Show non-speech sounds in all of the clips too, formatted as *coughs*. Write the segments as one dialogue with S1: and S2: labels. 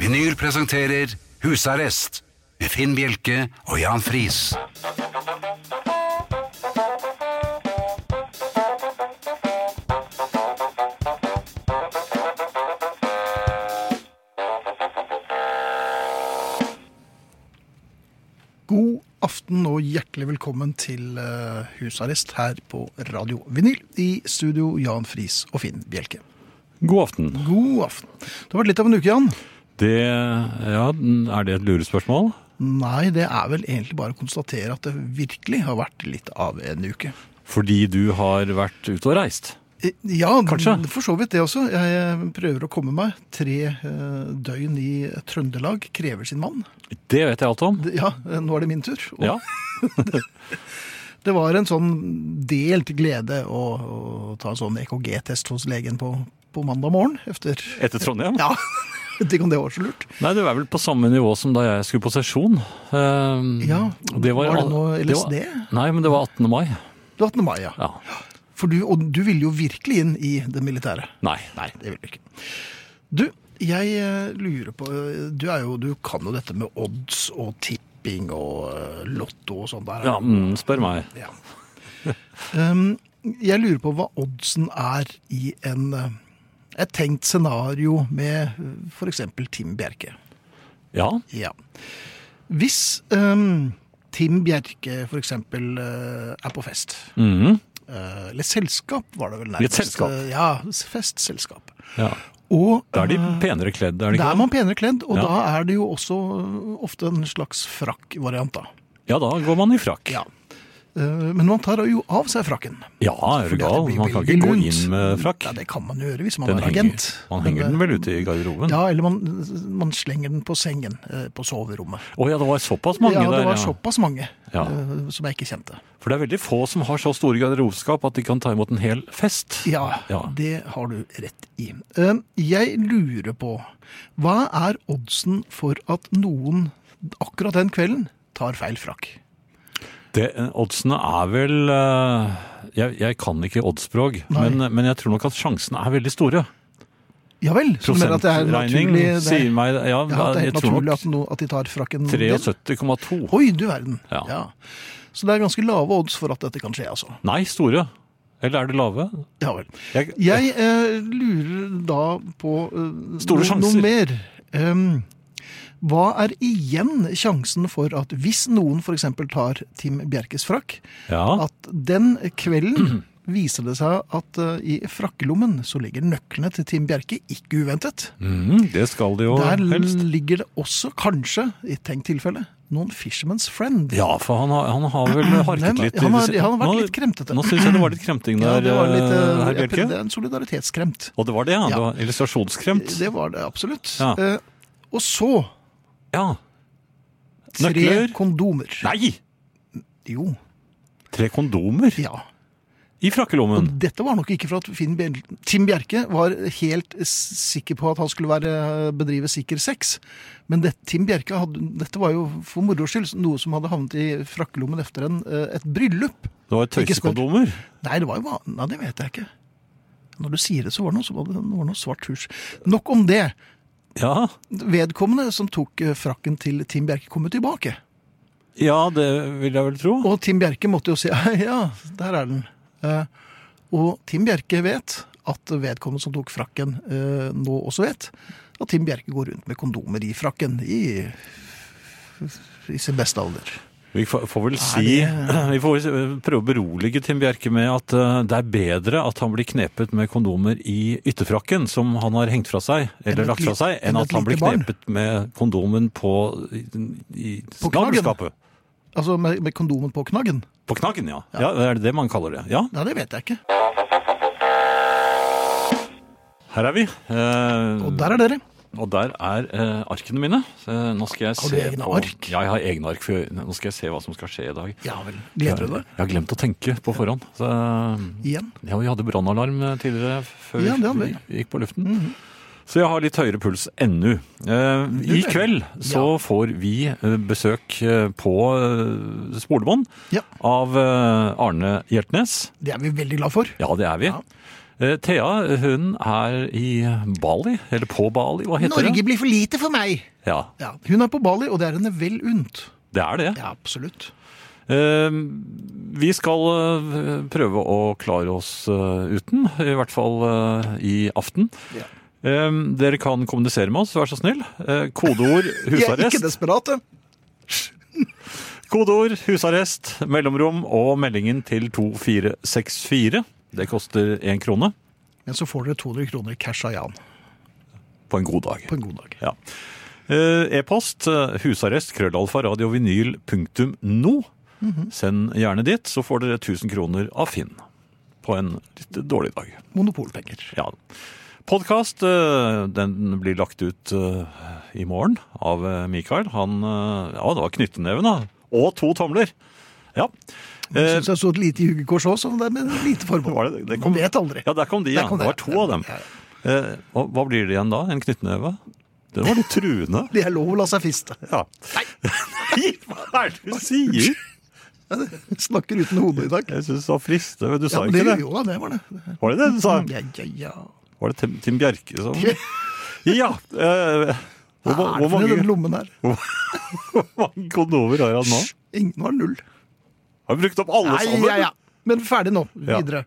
S1: Vinyl presenterer Husarrest med Finn Bjelke og Jan Friis.
S2: God aften og hjertelig velkommen til eh, husarrest her på Radio Vinyl. I studio Jan Friis og Finn Bjelke.
S3: God aften.
S2: God aften. Det har vært litt av en uke, Jan.
S3: Det, ja, er det et lurespørsmål?
S2: Nei, det er vel egentlig bare å konstatere at det virkelig har vært litt av en uke.
S3: Fordi du har vært ute og reist.
S2: Eh, Ja,
S3: Kanskje.
S2: for så vidt det også. Jeg eh, prøver å komme meg. Tre eh, døgn i Trøndelag krever sin mann.
S3: Det vet jeg alt om.
S2: Det- Ja, eh, nå er det min tur. Og
S3: Ja,
S2: Det var en sånn delt glede å, å ta en sånn EKG-test hos legen på, på mandag morgen efter
S3: Etter Trondheim?
S2: Ja, *laughs* jeg vet ikke om det var så lurt.
S3: Nei, du er vel på samme nivå som da jeg skulle på sesjon. Eh,
S2: Ja, var det noe
S3: det var-
S2: LSD?
S3: nei, men det var 18. mai.
S2: Det var 18. mai, ja.
S3: Ja.
S2: For du, og du ville jo virkelig inn i det militære.
S3: Nei.
S2: Nei, det ville du ikke. Du, jeg eh, lurer på eh, Du, er jo, du kan jo dette med odds og tipping og eh, lotto og sånn der.
S3: Ja, mm, spør meg.
S2: Ja. Um, jeg lurer på hva oddsen er i en, eh, et tenkt scenario med f.eks. Tim Bjerke.
S3: Ja,
S2: Ja. Hvis um, Tim Bjerke f.eks. er på fest,
S3: mhm,
S2: eh, eller selskap var det vel
S3: I
S2: nærmest.
S3: et selskap.
S2: eh, Ja, festselskap.
S3: ja.
S2: Og
S3: Da er de
S2: eh,
S3: penere kledd, er de
S2: da
S3: ikke
S2: er
S3: det?
S2: man penere kledd, og
S3: Ja.
S2: da er det jo også eh, ofte en slags frakkvariant, da.
S3: Ja, da går man i frakk.
S2: Ja. Eh, Men man tar jo av seg frakken.
S3: Ja, er du
S2: Fordi at
S3: gal?
S2: det blir
S3: Man kan
S2: veldig
S3: ikke gå
S2: lunt.
S3: inn med
S2: Nei,
S3: frakk.
S2: det kan man jo gjøre hvis man
S3: Den
S2: er
S3: henger,
S2: agent.
S3: man
S2: Men, eh,
S3: henger den vel ute i garderoben?
S2: Ja, eller man, man slenger den på sengen eh, på soverommet.
S3: Å ja, det var såpass mange
S2: ja, det
S3: der.
S2: var
S3: ja.
S2: såpass mange
S3: Ja.
S2: eh, som jeg ikke kjente.
S3: For det er veldig få som har så store garderobeskap at de kan ta imot en hel fest.
S2: Ja,
S3: Ja.
S2: det har du rett i. Eh, Jeg lurer på, hva er oddsen for at noen akkurat den kvelden tar feil frakk?
S3: Det, oddsene er vel eh, Jeg, jeg kan ikke oddsspråk,
S2: Nei.
S3: men, men jeg tror nok at sjansene er veldig store.
S2: Ja vel, så du mener at det er
S3: Prosentregning
S2: naturlig, det
S3: sier
S2: er,
S3: meg
S2: ja,
S3: Ja,
S2: at det er
S3: jeg
S2: helt
S3: tror
S2: naturlig
S3: nok
S2: at, no, at de tar frakken din?
S3: 73,2.
S2: Oi, du verden.
S3: Ja.
S2: Så det er ganske lave odds for at dette kan skje, altså.
S3: Nei, store. Eller er det lave?
S2: Ja vel.
S3: Jeg,
S2: Jeg eh, lurer da på eh, no-
S3: Store sjanser.
S2: noe mer. Em, hva er igjen sjansen for at hvis noen f.eks. tar Tim Bjerkes frakk,
S3: ja.
S2: at den
S3: *clears throat*
S2: kvelden viser det seg at eh, i frakkelommen så ligger nøklene til Tim Bjerke, ikke uventet.
S3: Mm, det skal de jo
S2: Der
S3: helst.
S2: ligger det også kanskje, i et tenkt tilfelle, noen Fisherman's Friend.
S3: Ja, for han har, han har vel
S2: Nei,
S3: harket litt. i
S2: han har-
S3: det siste.
S2: han har vært
S3: Nå-
S2: litt kremtete.
S3: Nå syns jeg det var litt kremting
S2: Ja,
S3: der,
S2: det var litt,
S3: eh,
S2: eh,
S3: herr
S2: jeg- det
S3: Bjelke.
S2: er en solidaritetskremt.
S3: Og det var det, ja.
S2: Ja.
S3: Det var illustrasjonskremt.
S2: Det var det absolutt.
S3: Ja.
S2: Eh, og så
S3: Ja.
S2: tre
S3: Nøkler?
S2: kondomer.
S3: Nei!
S2: Jo,
S3: Tre kondomer
S2: ja.
S3: i
S2: Og
S3: frakkelommen.
S2: dette var nok ikke for at Finn Bjel Tim Bjerke var helt s- sikker på at han skulle være, eh, bedrive sikker sex. Men det, Tim Bjerke hadde, dette var jo for moro skyld noe som hadde havnet i frakkelommen etter en, eh, et bryllup.
S3: Det var
S2: Ikke spør.
S3: tøysekondomer.
S2: Nei, det var jo van- Nei, det vet jeg ikke. Når du sier det, så var det noe, så var det, det var noe svart hus. Nok om det.
S3: Ja.
S2: Vedkommende som tok eh, frakken til Tim Bjerke, kom jo tilbake.
S3: ja, det vil jeg vel tro.
S2: Og Tim Bjerke måtte jo si ja, der er den. Eh, Og Tim Bjerke vet at vedkommende som tok frakken, eh, nå også vet at Tim Bjerke går rundt med kondomer i frakken i, i sin beste alder.
S3: Vi får får vel si *clears throat* Vi får vel prøve å berolige Tim Bjerke med at eh, det er bedre at han blir knepet med kondomer i ytterfrakken som han har hengt fra seg,
S2: et
S3: eller lagt fra
S2: li-
S3: seg,
S2: enn
S3: enn
S2: et
S3: at han blir
S2: lite barn.
S3: knepet med kondomen på i, i
S2: På knaggen.
S3: snabelskapet.
S2: Altså med, med kondomen på knaggen.
S3: På knaggen, ja. ja. Er det det man kaller det? Ja,
S2: Nei, det vet jeg ikke.
S3: her er vi. Eh,
S2: Og der er dere.
S3: Og der er eh, arkene mine. Eh, nå skal jeg
S2: Har du
S3: se
S2: egne
S3: på...
S2: ark?
S3: Ja, jeg har egne ark. For nå skal jeg se hva som skal skje i dag.
S2: Ja vel. Gleder du deg?
S3: Jeg har glemt å tenke på forhånd. Så,
S2: Igjen.
S3: ja, vi hadde brannalarm eh, tidligere før
S2: Ja, det hadde Mhm.
S3: vi gikk på luften. Så jeg har litt høyere puls ennå. Eh, I
S2: vel.
S3: kveld så
S2: Ja.
S3: får vi eh, besøk eh, på eh, spolebånd
S2: Ja,
S3: av eh, Arne Hjeltnes.
S2: Det er vi veldig glad for.
S3: Ja, det er vi. Eh, Thea hun er i Bali, eller på Bali, hva heter
S2: Norge
S3: det?
S2: blir for lite for meg!
S3: Ja,
S2: Ja, Hun er på Bali, og det er henne vel unt.
S3: det er det.
S2: Ja, absolutt.
S3: Eh, Vi skal eh, prøve å klare oss eh, uten, i hvert fall eh, i aften.
S2: Ja.
S3: Eh, Dere kan kommunisere med oss, vær så snill. Eh,
S2: *laughs*
S3: Kodeord
S2: Vi er ikke
S3: husarrest.
S2: desperate.
S3: Kodeord husarrest, mellomrom og meldingen til 2464. Det koster én krone
S2: Men så får dere 200 kroner cash av Jan
S3: på en god dag.
S2: på en god dag.
S3: Ja. Eh, E-post eh, husarrest krøllalfa radiovinyl.no.
S2: Mhm.
S3: Send gjerne dit, så får dere 1000 kroner av Finn. På en litt dårlig dag.
S2: Monopolpenger.
S3: Ja. Podkast den blir lagt ut eh, i morgen av eh, Mikael. Han eh, Ja, det var knyttneven, da. Og to tomler! Ja.
S2: Jeg
S3: Eh,
S2: syns jeg så et lite jugekors òg, så det er med lite
S3: Var
S2: formål.
S3: det- det kom-
S2: Man vet aldri.
S3: ja, der kom de,
S2: Der
S3: ja.
S2: kom
S3: det var to av dem.
S2: Ja, ja.
S3: Eh, og hva blir det igjen da? En knyttneve? Det var litt truende.
S2: Det er lov å la seg fiste. *laughs*
S3: Ja. *laughs* Nei, hva er det du sier?
S2: Snakker uten hode i dag.
S3: Jeg syns det var fristende, men du Eh, sa
S2: men
S3: ikke det.
S2: Jo da, det var det.
S3: Var det det du sa?
S2: Ja, ja, ja.
S3: Var det Tim, Tim Bjerke som Ja! eh, hvor,
S2: Hva
S3: ma-
S2: er det med
S3: hvor,
S2: den
S3: mange,
S2: lommen der?
S3: hvor mange kondomer har han nå?
S2: Ingen var null.
S3: Har vi brukt opp alle
S2: Nei,
S3: sammen?
S2: ja, ja. Men ferdig nå.
S3: Ja.
S2: Videre.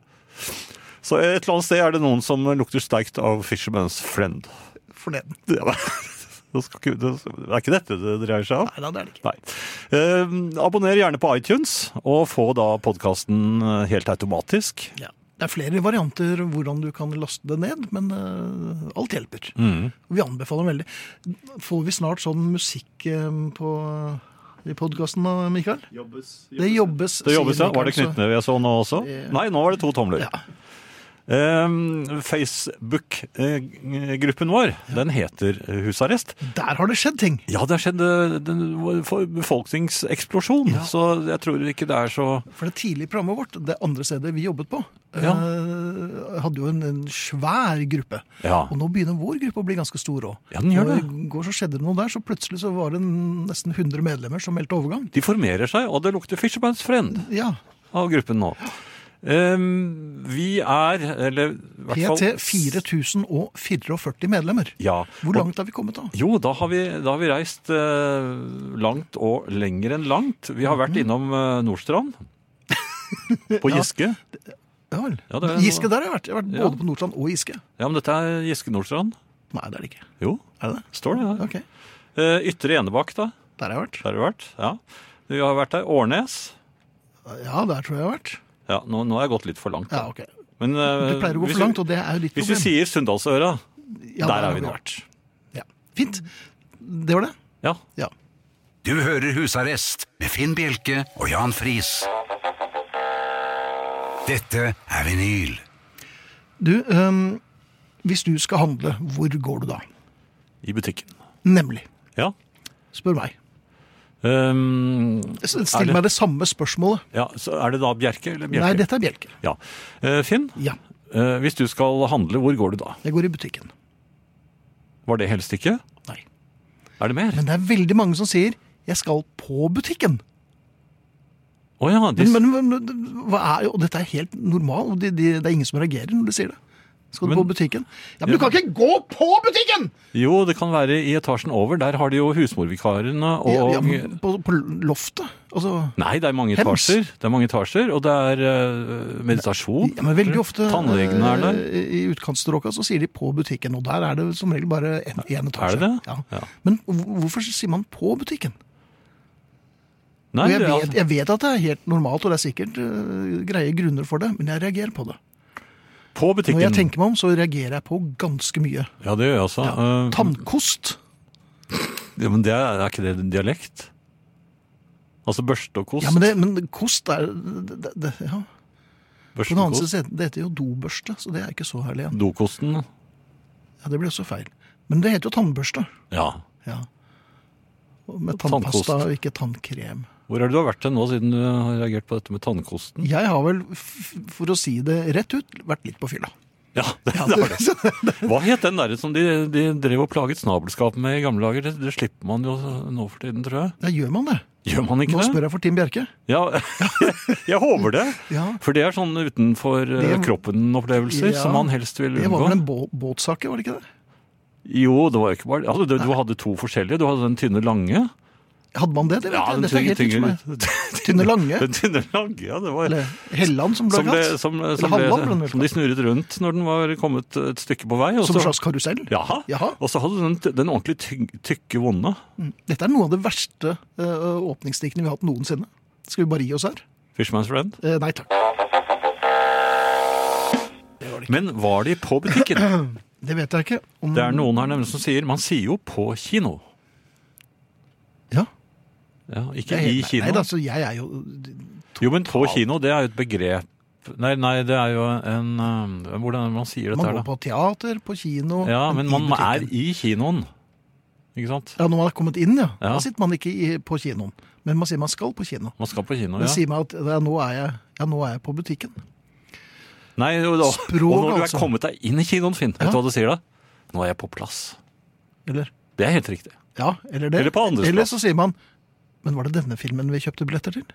S3: Så et eller annet sted er det noen som lukter sterkt av Fisherman's Friend. *laughs*
S2: Forneden.
S3: Det er, det skal ikke, det er ikke dette det dreier seg om?
S2: Nei da, det er det ikke.
S3: Nei. Eh, abonner gjerne på iTunes, og få da podkasten helt automatisk.
S2: Ja. Det er flere varianter hvordan du kan laste det ned, men eh, alt hjelper.
S3: Mm.
S2: Vi anbefaler veldig. Får vi snart sånn musikk eh, på, i podkasten da, Mikael? Det jobbes.
S3: Det jobbes,
S2: sier
S3: ja. Var det
S2: Mikael, så-
S3: knyttneve jeg så nå også?
S2: Ja.
S3: Nei, nå var det to tomler.
S2: Ja.
S3: Eh, Facebook-gruppen eh, vår, den heter eh, Husarrest.
S2: Der har det skjedd ting!
S3: Ja, det har skjedd eh, den- for- befolkningseksplosjon, så jeg tror ikke det er så
S2: For det tidlige programmet vårt, det andre stedet vi jobbet på,
S3: Ja.
S2: eh, hadde jo en, en svær gruppe.
S3: Ja.
S2: Og nå begynner vår gruppe å bli ganske stor òg.
S3: Ja, den gjør det.
S2: I går så skjedde det noe der, så plutselig så var det nesten 100 medlemmer som meldte overgang.
S3: De formerer seg, og det lukter Fisherman's Friend
S2: Ja.
S3: av gruppen nå. Eh, vi er, eller i hvert fall
S2: PT 4044 medlemmer.
S3: Ja.
S2: Hvor langt har vi kommet da?
S3: Jo, da har vi, da har vi reist eh, langt og lenger enn langt. Vi har
S2: Mhm.
S3: vært innom eh,
S2: *laughs*
S3: Nordstrand. På Giske. Ja.
S2: Ja vel.
S3: Ja, det er noe-
S2: Giske der har jeg vært. Jeg har vært
S3: Ja.
S2: både på Nordstrand og Giske.
S3: men dette er Giske-Nordstrand.
S2: Nei, det er det ikke.
S3: Jo,
S2: Er det det?
S3: står det her.
S2: Ok.
S3: Eh, ytre Enebakk, da.
S2: Der har jeg vært.
S3: Der har du vært. Ja. Vi har vært der. Årnes.
S2: Ja, der tror jeg jeg har vært.
S3: Ja, nå, nå har jeg gått litt for langt.
S2: Ja, ok.
S3: Men, eh,
S2: Du pleier å gå
S3: hvis
S2: for langt, og det er jo ditt
S3: Vi, hvis vi
S2: problem.
S3: sier Sunndalsøra,
S2: ja,
S3: der er
S2: har
S3: vi nå.
S2: Ja. Fint. Det var det.
S3: Ja.
S2: Ja.
S1: Du hører Husarrest med Finn Bjelke og Jan Friis. Dette er vinyl.
S2: Du, øhm, hvis du skal handle, hvor går du da?
S3: I butikken.
S2: Nemlig.
S3: Ja.
S2: Spør meg.
S3: Ehm,
S2: S-
S3: Er
S2: Still
S3: det-
S2: meg det samme spørsmålet.
S3: ja. Så er det da Bjerke eller Bjerke?
S2: Nei, dette er Bjelke.
S3: Ja. Eh, Finn,
S2: Ja.
S3: eh, hvis du skal handle, hvor går du da?
S2: Jeg går i butikken.
S3: Var det helst ikke?
S2: Nei.
S3: Er det mer?
S2: Men det er veldig mange som sier 'jeg skal på butikken'.
S3: Å ja, de,
S2: Men, men, men hva er, og dette er helt normal, og de, de, det er ingen som reagerer når de sier det. Skal du
S3: Men-
S2: på butikken? Ja, men du kan ikke gå på butikken!
S3: jo, det kan være i etasjen over. Der har de jo husmorvikarene og
S2: Ja, ja, men på, på loftet? Altså,
S3: Nei, det er mange
S2: Hems.
S3: etasjer. Det er mange etasjer, Og det er eh, meditasjon.
S2: ja, men veldig ofte
S3: Tannlegene er der.
S2: eh, i utkantstråka så sier de 'på butikken', og der er det som regel bare en- én etasje.
S3: Er det det?
S2: Ja.
S3: Ja.
S2: Men hvor- hvorfor sier man 'på butikken'?
S3: Nei,
S2: Og jeg,
S3: det er-
S2: vet, jeg vet at det er helt normalt, og det er sikkert eh, greie grunner for det, men jeg reagerer på det.
S3: altså- På
S2: Når
S3: butikken.
S2: jeg tenker meg om, så reagerer jeg på ganske mye.
S3: Ja, det gjør jeg også. Eh,
S2: Tannkost?
S3: ja, men det er, er ikke det dialekt? Altså børste og kost?
S2: Ja, men, det, men kost er det, det, ja. På
S3: børste
S2: den
S3: og
S2: andre
S3: kost.
S2: siden, det heter jo dobørste, så det er ikke så herlig. igjen.
S3: Dokosten.
S2: Ja, det ble også feil. Men det heter jo tannbørste.
S3: Ja.
S2: Ja. Og Med
S3: Tannkost.
S2: tannpasta og ikke tannkrem.
S3: Hvor er det du har vært hen nå, siden du har reagert på dette med tannkosten?
S2: Jeg har vel, f- for å si det rett ut, vært litt på fylla.
S3: Ja, det, *laughs* det var det. Hva het den derre som de, de drev og plaget snabelskap med i gamle dager? Det, det slipper man jo nå for tiden, tror jeg.
S2: Ja, gjør man det?
S3: Gjør man ikke
S2: Nå
S3: det?
S2: spør jeg for Tim Bjerke.
S3: Ja, *laughs* jeg håper det.
S2: Ja.
S3: For det er sånn utenfor eh,
S2: Det-
S3: kroppen-opplevelser
S2: Ja,
S3: som man helst vil
S2: Det var
S3: unngå.
S2: vel en bå båtsakke, var det ikke det?
S3: Jo, det var jo ikke bare altså, du, du hadde to forskjellige. Du hadde den tynne lange.
S2: Hadde man det? det vet
S3: Ja,
S2: jeg.
S3: *laughs* den
S2: Dette er
S3: tynne,
S2: helt nytt for
S3: tynne,
S2: meg. Tynne lange?
S3: den tynne lange, ja, det var...
S2: Eller Helland, som ble
S3: Som, ble,
S2: kalt.
S3: som,
S2: Eller
S3: som,
S2: Halland ble den
S3: ble,
S2: vel
S3: som de
S2: kalt.
S3: snurret rundt når den var kommet et stykke på vei. og
S2: Som en
S3: så-
S2: slags karusell?
S3: Jaha.
S2: Jaha.
S3: Og så hadde du den, den ordentlig tyg- tykke vonde.
S2: Dette er noe av det verste uh, åpningsdiktene vi har hatt noensinne. Skal vi bare gi oss her?
S3: Fishman's Friend.
S2: Eh, nei takk.
S3: Men var de på
S2: *clears throat*
S3: butikken?
S2: Det vet jeg ikke. Om...
S3: Det er noen her nemlig som sier Man sier jo på kino.
S2: Ja.
S3: Ja, ikke
S2: Jeg,
S3: i
S2: nei,
S3: kino.
S2: Nei, altså, jeg er jo
S3: Jo, men på kino, det er jo et begrep Nei, nei det er jo en eh, Hvordan er det man sier dette
S2: Man
S3: her,
S2: går
S3: da?
S2: på teater, på kino
S3: Ja, men man er
S2: butikken.
S3: i kinoen. Ikke sant?
S2: Ja, Når man er kommet inn, ja.
S3: Ja.
S2: Da sitter man ikke i, på kinoen. Men man sier man skal på kino.
S3: Man skal på kino,
S2: Det
S3: ja.
S2: sier meg at ja, nå, er jeg, ja, nå er jeg på butikken.
S3: Nei, og, da,
S2: Språk,
S3: og når du er
S2: altså.
S3: kommet deg inn i kinoen, Finn, vet
S2: Ja.
S3: du hva du sier da? Nå er jeg på plass.
S2: Eller
S3: Det er helt riktig.
S2: ja, eller det.
S3: Eller på andres
S2: Eller
S3: plass.
S2: så sier man Men var det denne filmen vi kjøpte billetter til?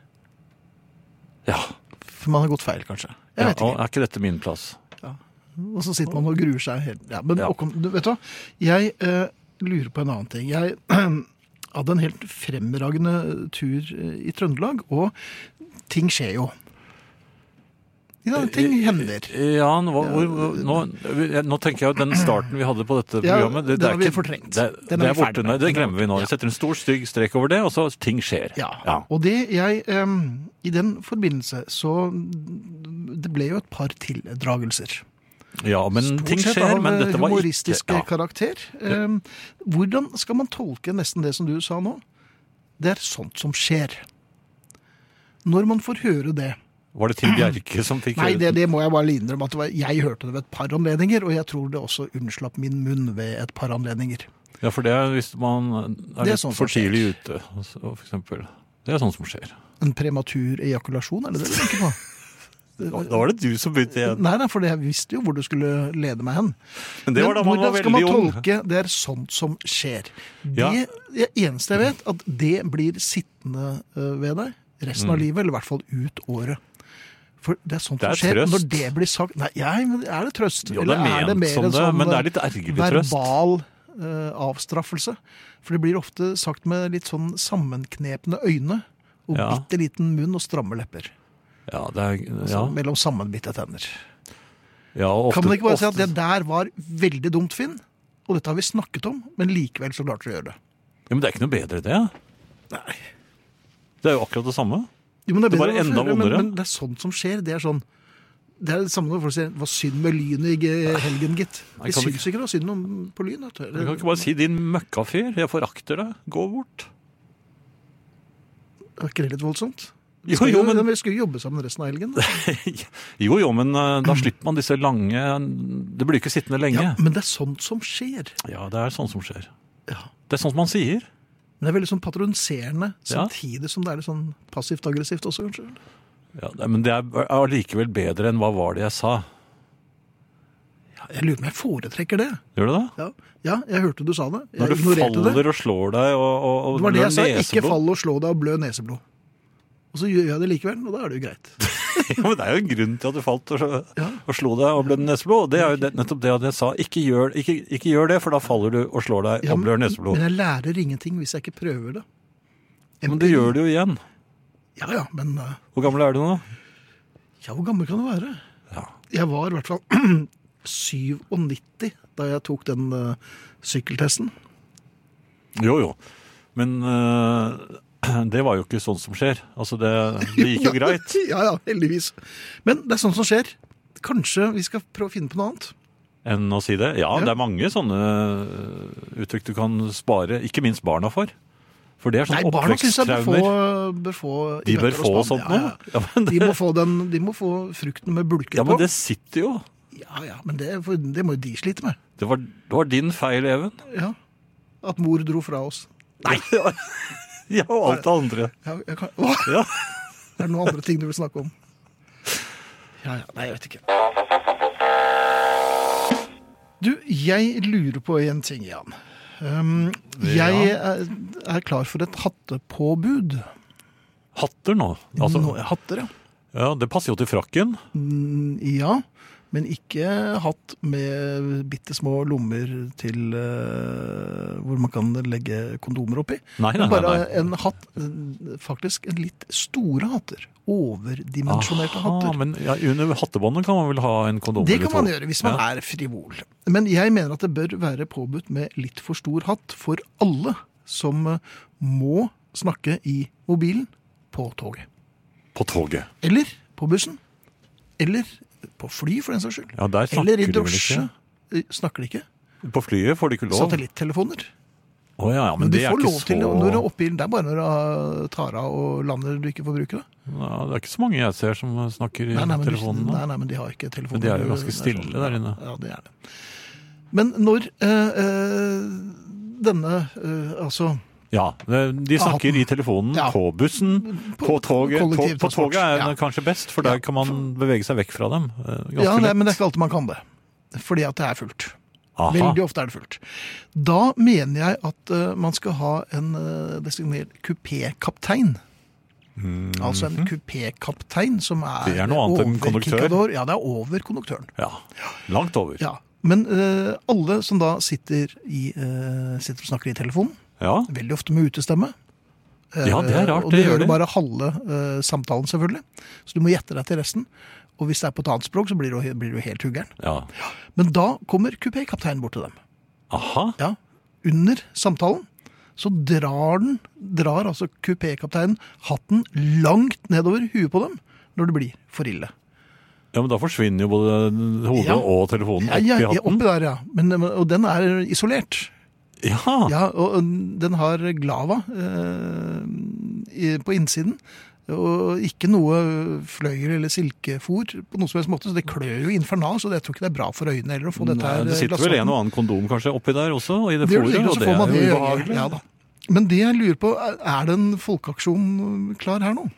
S3: Ja.
S2: For man har gått feil, kanskje. Jeg
S3: ja
S2: vet ikke.
S3: og er ikke dette min plass?
S2: Og så sitter man og gruer seg helt. Ja, men
S3: Ja.
S2: Håkon, du, vet du hva? Jeg eh, lurer på en annen ting. Jeg *clears throat* hadde en helt fremragende tur eh, i Trøndelag, og ting skjer jo. Ja, ting hender.
S3: Ja, nå, var- hvor, hvor- nå, nå tenker jeg at den starten vi hadde på dette
S2: Ja,
S3: programmet det,
S2: den
S3: det er
S2: har vi
S3: ikke-
S2: fortrengt.
S3: Det,
S2: Den er
S3: det er
S2: vi ferdig
S3: borte,
S2: med.
S3: nå. det
S2: Den er
S3: glemmer vi nå. Vi setter en stor, stygg strek over det, og så ting skjer.
S2: Ja. Og det jeg em, I den forbindelse så Det ble jo et par tildragelser.
S3: Ja, men ting
S2: Stort sett
S3: skjer,
S2: av
S3: men dette var
S2: humoristisk
S3: ikke ja.
S2: karakter. Em, hvordan skal man tolke nesten det som du sa nå? Det er sånt som skjer. Når man får høre det
S3: Var det Tim Bjerke som fikk
S2: *clears throat* Nei,
S3: høre
S2: det, det må jeg bare innrømme. at det var, Jeg hørte det ved et par anledninger, og jeg tror det også unnslapp min munn ved et par anledninger.
S3: Ja, for det er hvis man er,
S2: Det er
S3: litt
S2: sånn som
S3: for tidlig ute, så, for eksempel. Det er sånn som skjer.
S2: En prematur ejakulasjon, er det det du tenker på?
S3: *laughs* Da var det du som begynte igjen.
S2: Nei, nei, for jeg visste jo hvor du skulle lede meg hen.
S3: Men det var da man
S2: hvordan
S3: var
S2: skal man
S3: veldig ung.
S2: tolke det er sånt som skjer?
S3: Ja.
S2: Det, det eneste jeg vet, at det blir sittende eh, ved deg resten av livet, eller i hvert fall ut året. For det er sånt
S3: Mm. Det er
S2: som skjer.
S3: trøst.
S2: Når det blir sagt Nei, ja, men er det trøst?
S3: Jo, det er ment som det, men det er litt ergerlig trøst.
S2: verbal eh, avstraffelse? For det blir ofte sagt med litt sånn sammenknepne øyne og
S3: Ja.
S2: bitte liten munn og stramme lepper.
S3: Ja, det er, ja,
S2: Så mellom sammenbitte tenner.
S3: ja, og ofte,
S2: Altså, Kan man ikke bare si at
S3: ofte-
S2: det der var veldig dumt, Finn? Og dette har vi snakket om, men likevel så klarte dere å gjøre det.
S3: Ja, men det er ikke noe bedre det.
S2: Nei.
S3: Det er jo akkurat det samme.
S2: Jo, men det er
S3: Det var
S2: bedre enn
S3: enda
S2: før, men,
S3: vondere.
S2: men det er sånt som skjer. Det er sånn det er det samme når folk sier 'hva synd med Lyn i ge- helgen', gitt.
S3: Nei,
S2: Vi
S3: kan
S2: syns ikke det var synd om på Lyn. vet du.
S3: Du kan ikke bare si 'din møkkafyr', jeg forakter deg, gå bort.
S2: Er ikke det litt voldsomt? Vi
S3: Jo,
S2: skal
S3: jo,
S2: jo-
S3: men,
S2: Vi skulle jo jobbe sammen resten av helgen.
S3: *laughs* jo, jo, men eh, da slipper man disse lange Det blir ikke sittende lenge.
S2: Ja, men det er sånt som skjer.
S3: Ja, det er sånn som skjer.
S2: Ja.
S3: Det er sånn som man sier.
S2: Men det er veldig sånn patroniserende,
S3: Ja.
S2: samtidig som det er litt sånn passivt aggressivt også, kanskje.
S3: Ja, det- men det er allikevel bedre enn 'hva var det jeg sa'?
S2: Ja, jeg lurer på om jeg foretrekker det.
S3: Gjør du det?
S2: Ja, ja jeg hørte du sa det. Jeg
S3: Når du
S2: ignorerte det.
S3: faller og slår deg og, og, og
S2: Det var det jeg sa.
S3: blør
S2: Ikke
S3: neseblod.
S2: fall og slå deg og blø neseblod. Og så gjør jeg det likevel, og da er det jo
S3: *laughs*
S2: greit.
S3: *laughs* Ja, men det er jo en grunn til at du falt og,
S2: Ja.
S3: og slo deg og blødde neseblod. Og det er jo det, nettopp det at jeg sa. Ikke gjør, ikke, ikke gjør det, for da faller du og slår deg
S2: Ja,
S3: og blør
S2: Men
S3: neseblod.
S2: jeg lærer ingenting hvis jeg ikke prøver det.
S3: Men det gjør du jo igjen.
S2: Ja, ja, men eh,
S3: Hvor gammel er du nå?
S2: ja, hvor gammel kan du være?
S3: Ja.
S2: Jeg var i hvert fall *clears throat* 97 da jeg tok den eh, sykkeltesten.
S3: Jo, jo. Men eh, *clears throat* det var jo ikke sånn som skjer. Altså, det, det
S2: *laughs*
S3: gikk jo greit.
S2: ja, ja, heldigvis. Men det er sånt som skjer. Kanskje vi skal prøve å finne på noe annet?
S3: Enn å si det. Ja,
S2: Ja.
S3: det er mange sånne eh, uttrykk du kan spare, ikke minst barna for. For det er
S2: Nei,
S3: sånne
S2: barna syns jeg bør få,
S3: Sånn oppveksttraumer.
S2: bør få i
S3: De bør
S2: bøtter og
S3: få
S2: spann.
S3: sånt nå.
S2: Ja, ja.
S3: Ja, men,
S2: De må få, den, de må få frukten med bulker
S3: *laughs* ja, men
S2: på.
S3: det sitter jo.
S2: Ja, ja, men det, for det må jo de slite med.
S3: Det var, det var din feil, Even.
S2: Ja. At mor dro fra oss.
S3: Nei! *laughs* Ja, og alt det andre.
S2: Ja, jeg kan... Åh,
S3: Ja.
S2: *laughs* det er noen andre ting du vil snakke om. Ja, ja, nei, jeg vet ikke. Du, jeg lurer på en ting, Jan. Um, jeg er, er klar for et hattepåbud.
S3: Hatter nå? Altså,
S2: Nå- hatter, ja.
S3: ja, det passer jo til frakken.
S2: Mm, Ja, men ikke hatt med bitte små lommer til eh, hvor man kan legge kondomer oppi.
S3: Nei, nei,
S2: Men
S3: nei.
S2: Bare
S3: nei.
S2: en hatt, eh, faktisk en litt store hatter. Overdimensjonerte
S3: Aha,
S2: hatter.
S3: Men ja, under hattebåndet kan man vel ha en kondom
S2: Det
S3: eller
S2: kan
S3: to?
S2: man gjøre hvis man er frivol. Men jeg mener at det bør være påbudt med litt for stor hatt for alle som eh, må snakke i mobilen på toget.
S3: På toget.
S2: Eller på bussen. Eller på fly, for den saks skyld.
S3: Ja, der snakker
S2: Eller i
S3: de vel
S2: drosje.
S3: ikke?
S2: Eh, Snakker de ikke?
S3: På flyet får de ikke lov.
S2: Satellittelefoner.
S3: Å ja, ja, men,
S2: Men du
S3: det er
S2: får
S3: ikke
S2: lov
S3: så...
S2: til det når du er oppe i den. Det er bare når du eh, tar av og lander du ikke får bruke det.
S3: Ja, det er ikke så mange jeg ser som snakker i
S2: Nei, nei, men,
S3: telefonen.
S2: du,
S3: nå.
S2: nei, nei, men de har ikke telefoner.
S3: Men de er jo
S2: Det
S3: ganske stille
S2: sånn.
S3: der inne.
S2: Ja, det er det. Men når eh, eh, denne eh, altså
S3: Ja, det- De snakker i telefonen,
S2: Ja.
S3: på bussen, på, toget. På, på
S2: kollektivtransport,
S3: toget er
S2: ja.
S3: det kanskje best, for der kan man bevege seg vekk fra dem. eh, Ganske
S2: Ja, nei,
S3: lett.
S2: men det er ikke alltid man kan det. Fordi at det er fullt.
S3: Aha.
S2: Veldig ofte er det fullt. Da mener jeg at eh, man skal ha en eh, designert kupékaptein. Altså en kupékaptein som er,
S3: Mm. Mhm. Det er noe annet enn
S2: over
S3: konduktør.
S2: Kikador. Ja, det er over konduktøren.
S3: Ja, Langt over. Ja.
S2: Ja. Men eh, alle som da sitter, i, eh, sitter og snakker i telefonen,
S3: Ja.
S2: veldig ofte med utestemme Eh,
S3: Ja, det er rart,
S2: Og du
S3: det
S2: hører
S3: gjør de.
S2: bare halve eh, samtalen, selvfølgelig. Så du må gjette deg til resten. Og hvis det er på et annet språk, så blir du, blir du helt huggeren. Men da kommer kupékapteinen bort til dem.
S3: Aha.
S2: Ja, under samtalen så drar den, drar altså kupékapteinen hatten langt nedover huet på dem når det blir for ille.
S3: Ja, men da forsvinner jo både hodet
S2: Ja.
S3: og telefonen
S2: Ja,
S3: oppi
S2: ja, ja,
S3: hatten.
S2: oppi der, ja. Men, og den er isolert.
S3: Ja,
S2: Ja, og den har glava eh, i- på innsiden. Og ikke noe fløyer eller silkefôr på noen som helst måte, så det klør jo infernal, så jeg tror ikke det er bra for øynene heller å få dette
S3: Nei,
S2: her
S3: det sitter vel en og annen kondom kanskje oppi der også, og i det
S2: Det gjør det
S3: fôret,
S2: sikkert,
S3: og
S2: og så
S3: det
S2: får
S3: er
S2: man det
S3: jo
S2: i øyet.
S3: ubehagelig.
S2: Ja, da. Men det jeg lurer på, er- er det en folkeaksjon eh, klar her nå?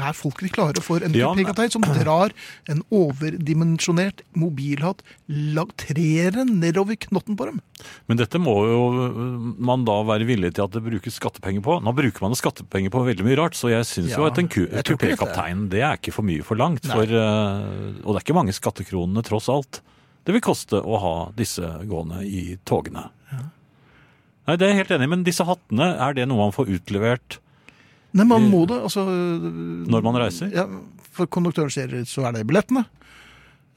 S2: Er folk de klare for en
S3: Ja, men-
S2: kupékaptein som drar en overdimensjonert mobilhatt, lag- trer den nedover knotten på dem?
S3: Men dette må jo øh, man da være villig til at det brukes skattepenger på. Nå bruker man jo skattepenger på veldig mye rart, så jeg syns jo
S2: Ja,
S3: at en ku-
S2: jeg tror ikke dette-
S3: kupékaptein det er ikke for mye forlangt.
S2: Nei.
S3: For, øh, og det er ikke mange skattekronene tross alt. Det vil koste å ha disse gående i togene. Nei, Det er jeg helt enig i, men disse hattene, er det noe man får utlevert
S2: Nei, man må det. Altså,
S3: når man reiser?
S2: ja, for konduktøren sier så er det billettene.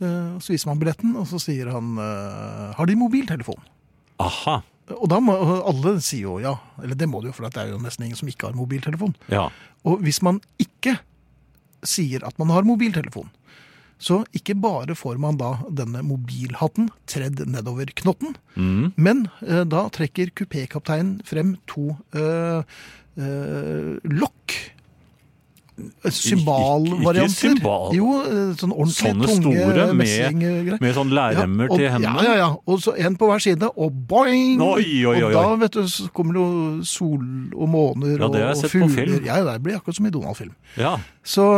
S2: Eh, Så viser man billetten, og så sier han eh, har de mobiltelefon?
S3: Aha.
S2: Og da må og alle si jo ja. Eller det må de jo, for det er jo nesten ingen som ikke har mobiltelefon.
S3: Ja.
S2: Og hvis man ikke sier at man har mobiltelefon, så ikke bare får man da denne mobilhatten tredd nedover knotten,
S3: Mm.
S2: men eh, da trekker kupékapteinen frem to eh, eh, lokk.
S3: ikke
S2: Symbalvarianter.
S3: symbal.
S2: Jo, eh, sånn ordentlig
S3: Sånne
S2: tunge
S3: store med-
S2: messinggreier.
S3: Med sånn lærremmer
S2: og,
S3: til hendene?
S2: Ja, ja, ja. Og så en på hver side, og boing!
S3: Oi, oi, oi, oi.
S2: Og da vet du, så kommer det jo sol og måner
S3: Ja, det har jeg
S2: og, og
S3: sett på
S2: fugler.
S3: film.
S2: Ja, det blir akkurat som i Donald-film.
S3: Ja.
S2: Så,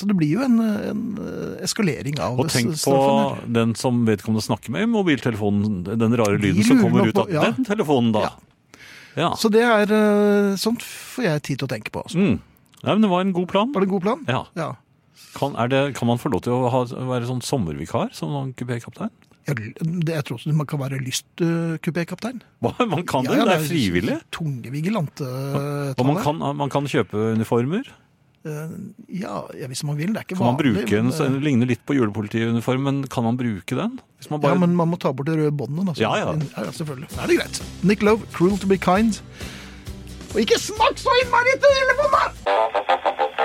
S2: så det blir jo en, en eh, eskalering av
S3: Og tenk på
S2: straffen. her.
S3: den som vedkommende snakker med i mobiltelefonen, den rare lyden som
S2: lurer
S3: kommer
S2: nok
S3: ut av
S2: på- ja.
S3: den telefonen, da. Ja.
S2: Så det er eh, sånt får jeg tid til å tenke på. altså.
S3: Mm. Nei, men det var en god plan.
S2: Var det en god plan?
S3: Ja.
S2: Ja.
S3: Kan, er det, kan man få lov til å ha, være sånn sommervikar som sånn kupékaptein?
S2: Jeg, det- jeg tror også man kan være lystkupékaptein.
S3: Man kan det, det er frivillig.
S2: Tunge vigilante.
S3: Og man kan, man kan kjøpe uniformer.
S2: Ja, ja, hvis man vil. Det er ikke
S3: Kan man
S2: vanlig,
S3: bruke
S2: men,
S3: en,
S2: eh,
S3: den ligner litt på julepolitiuniform, men kan man bruke den? Hvis man
S2: Ja,
S3: bare,
S2: men man må ta bort det røde båndet. da, så-
S3: Ja, ja.
S2: ja, selvfølgelig. Da er det greit. Nick Love, 'Cruel to be kind'. Og ikke snakk så innmari til telefonen!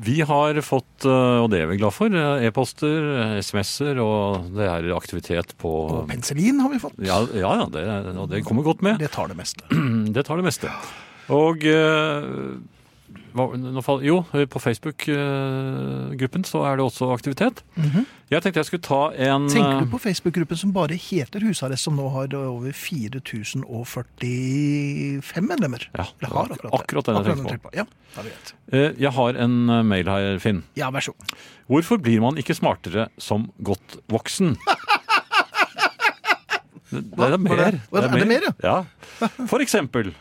S3: Vi har fått, eh, og det er vi glad for, eh, e-poster, eh, SMS-er, og det er aktivitet på
S2: Og penicillin har vi fått.
S3: Ja, ja, ja det, og det kommer godt med. Mm,
S2: Det tar det meste.
S3: Det tar det meste. Og eh, hva, nå fall, Jo, på Facebook-gruppen så er det også aktivitet. Jeg tenkte jeg skulle ta en
S2: Mhm. Tenker du på Facebook-gruppen som bare heter Husarrest, som nå har over 4045 medlemmer?
S3: Ja,
S2: Eller har
S3: det var
S2: akkurat, det.
S3: akkurat den jeg tenkte
S2: den Ja, da er det greit.
S3: eh, Jeg har en eh, mail her, Finn.
S2: Ja, vær så god.
S3: Hvorfor blir man ikke smartere som godt voksen? Det,
S2: Hva?
S3: det er
S2: Var
S3: mer.
S2: det- var det- er det mer,
S3: ja? For eksempel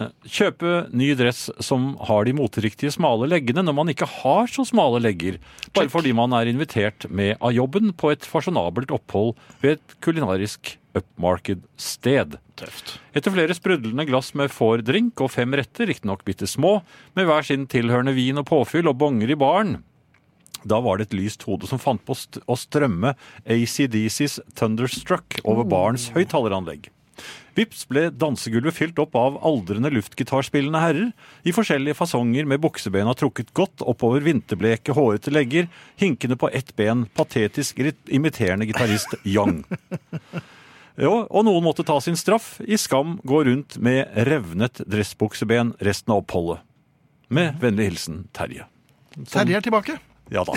S3: eh, kjøpe ny dress som har de moteriktige smale leggene når man ikke har så smale legger, bare fordi man er invitert med av jobben på et fasjonabelt opphold ved et kulinarisk upmarked sted.
S4: Tøft.
S3: Etter flere sprudlende glass med fårdrink og fem retter, riktignok bitte små, med hver sin tilhørende vin og påfyll og bonger i baren, da var det et lyst hode som fant på st å strømme ACDCs Thunderstruck over barens høyttaleranlegg. Vips ble dansegulvet fylt opp av aldrende luftgitarspillende herrer i forskjellige fasonger med buksebena trukket godt oppover vinterbleke, hårete legger, hinkende på ett ben, patetisk irrit- imiterende gitarist Young. Jo, og noen måtte ta sin straff i skam gå rundt med revnet dressbukseben resten av oppholdet. Med vennlig hilsen Terje. Sånn-
S2: Terje er tilbake.
S3: Ja da.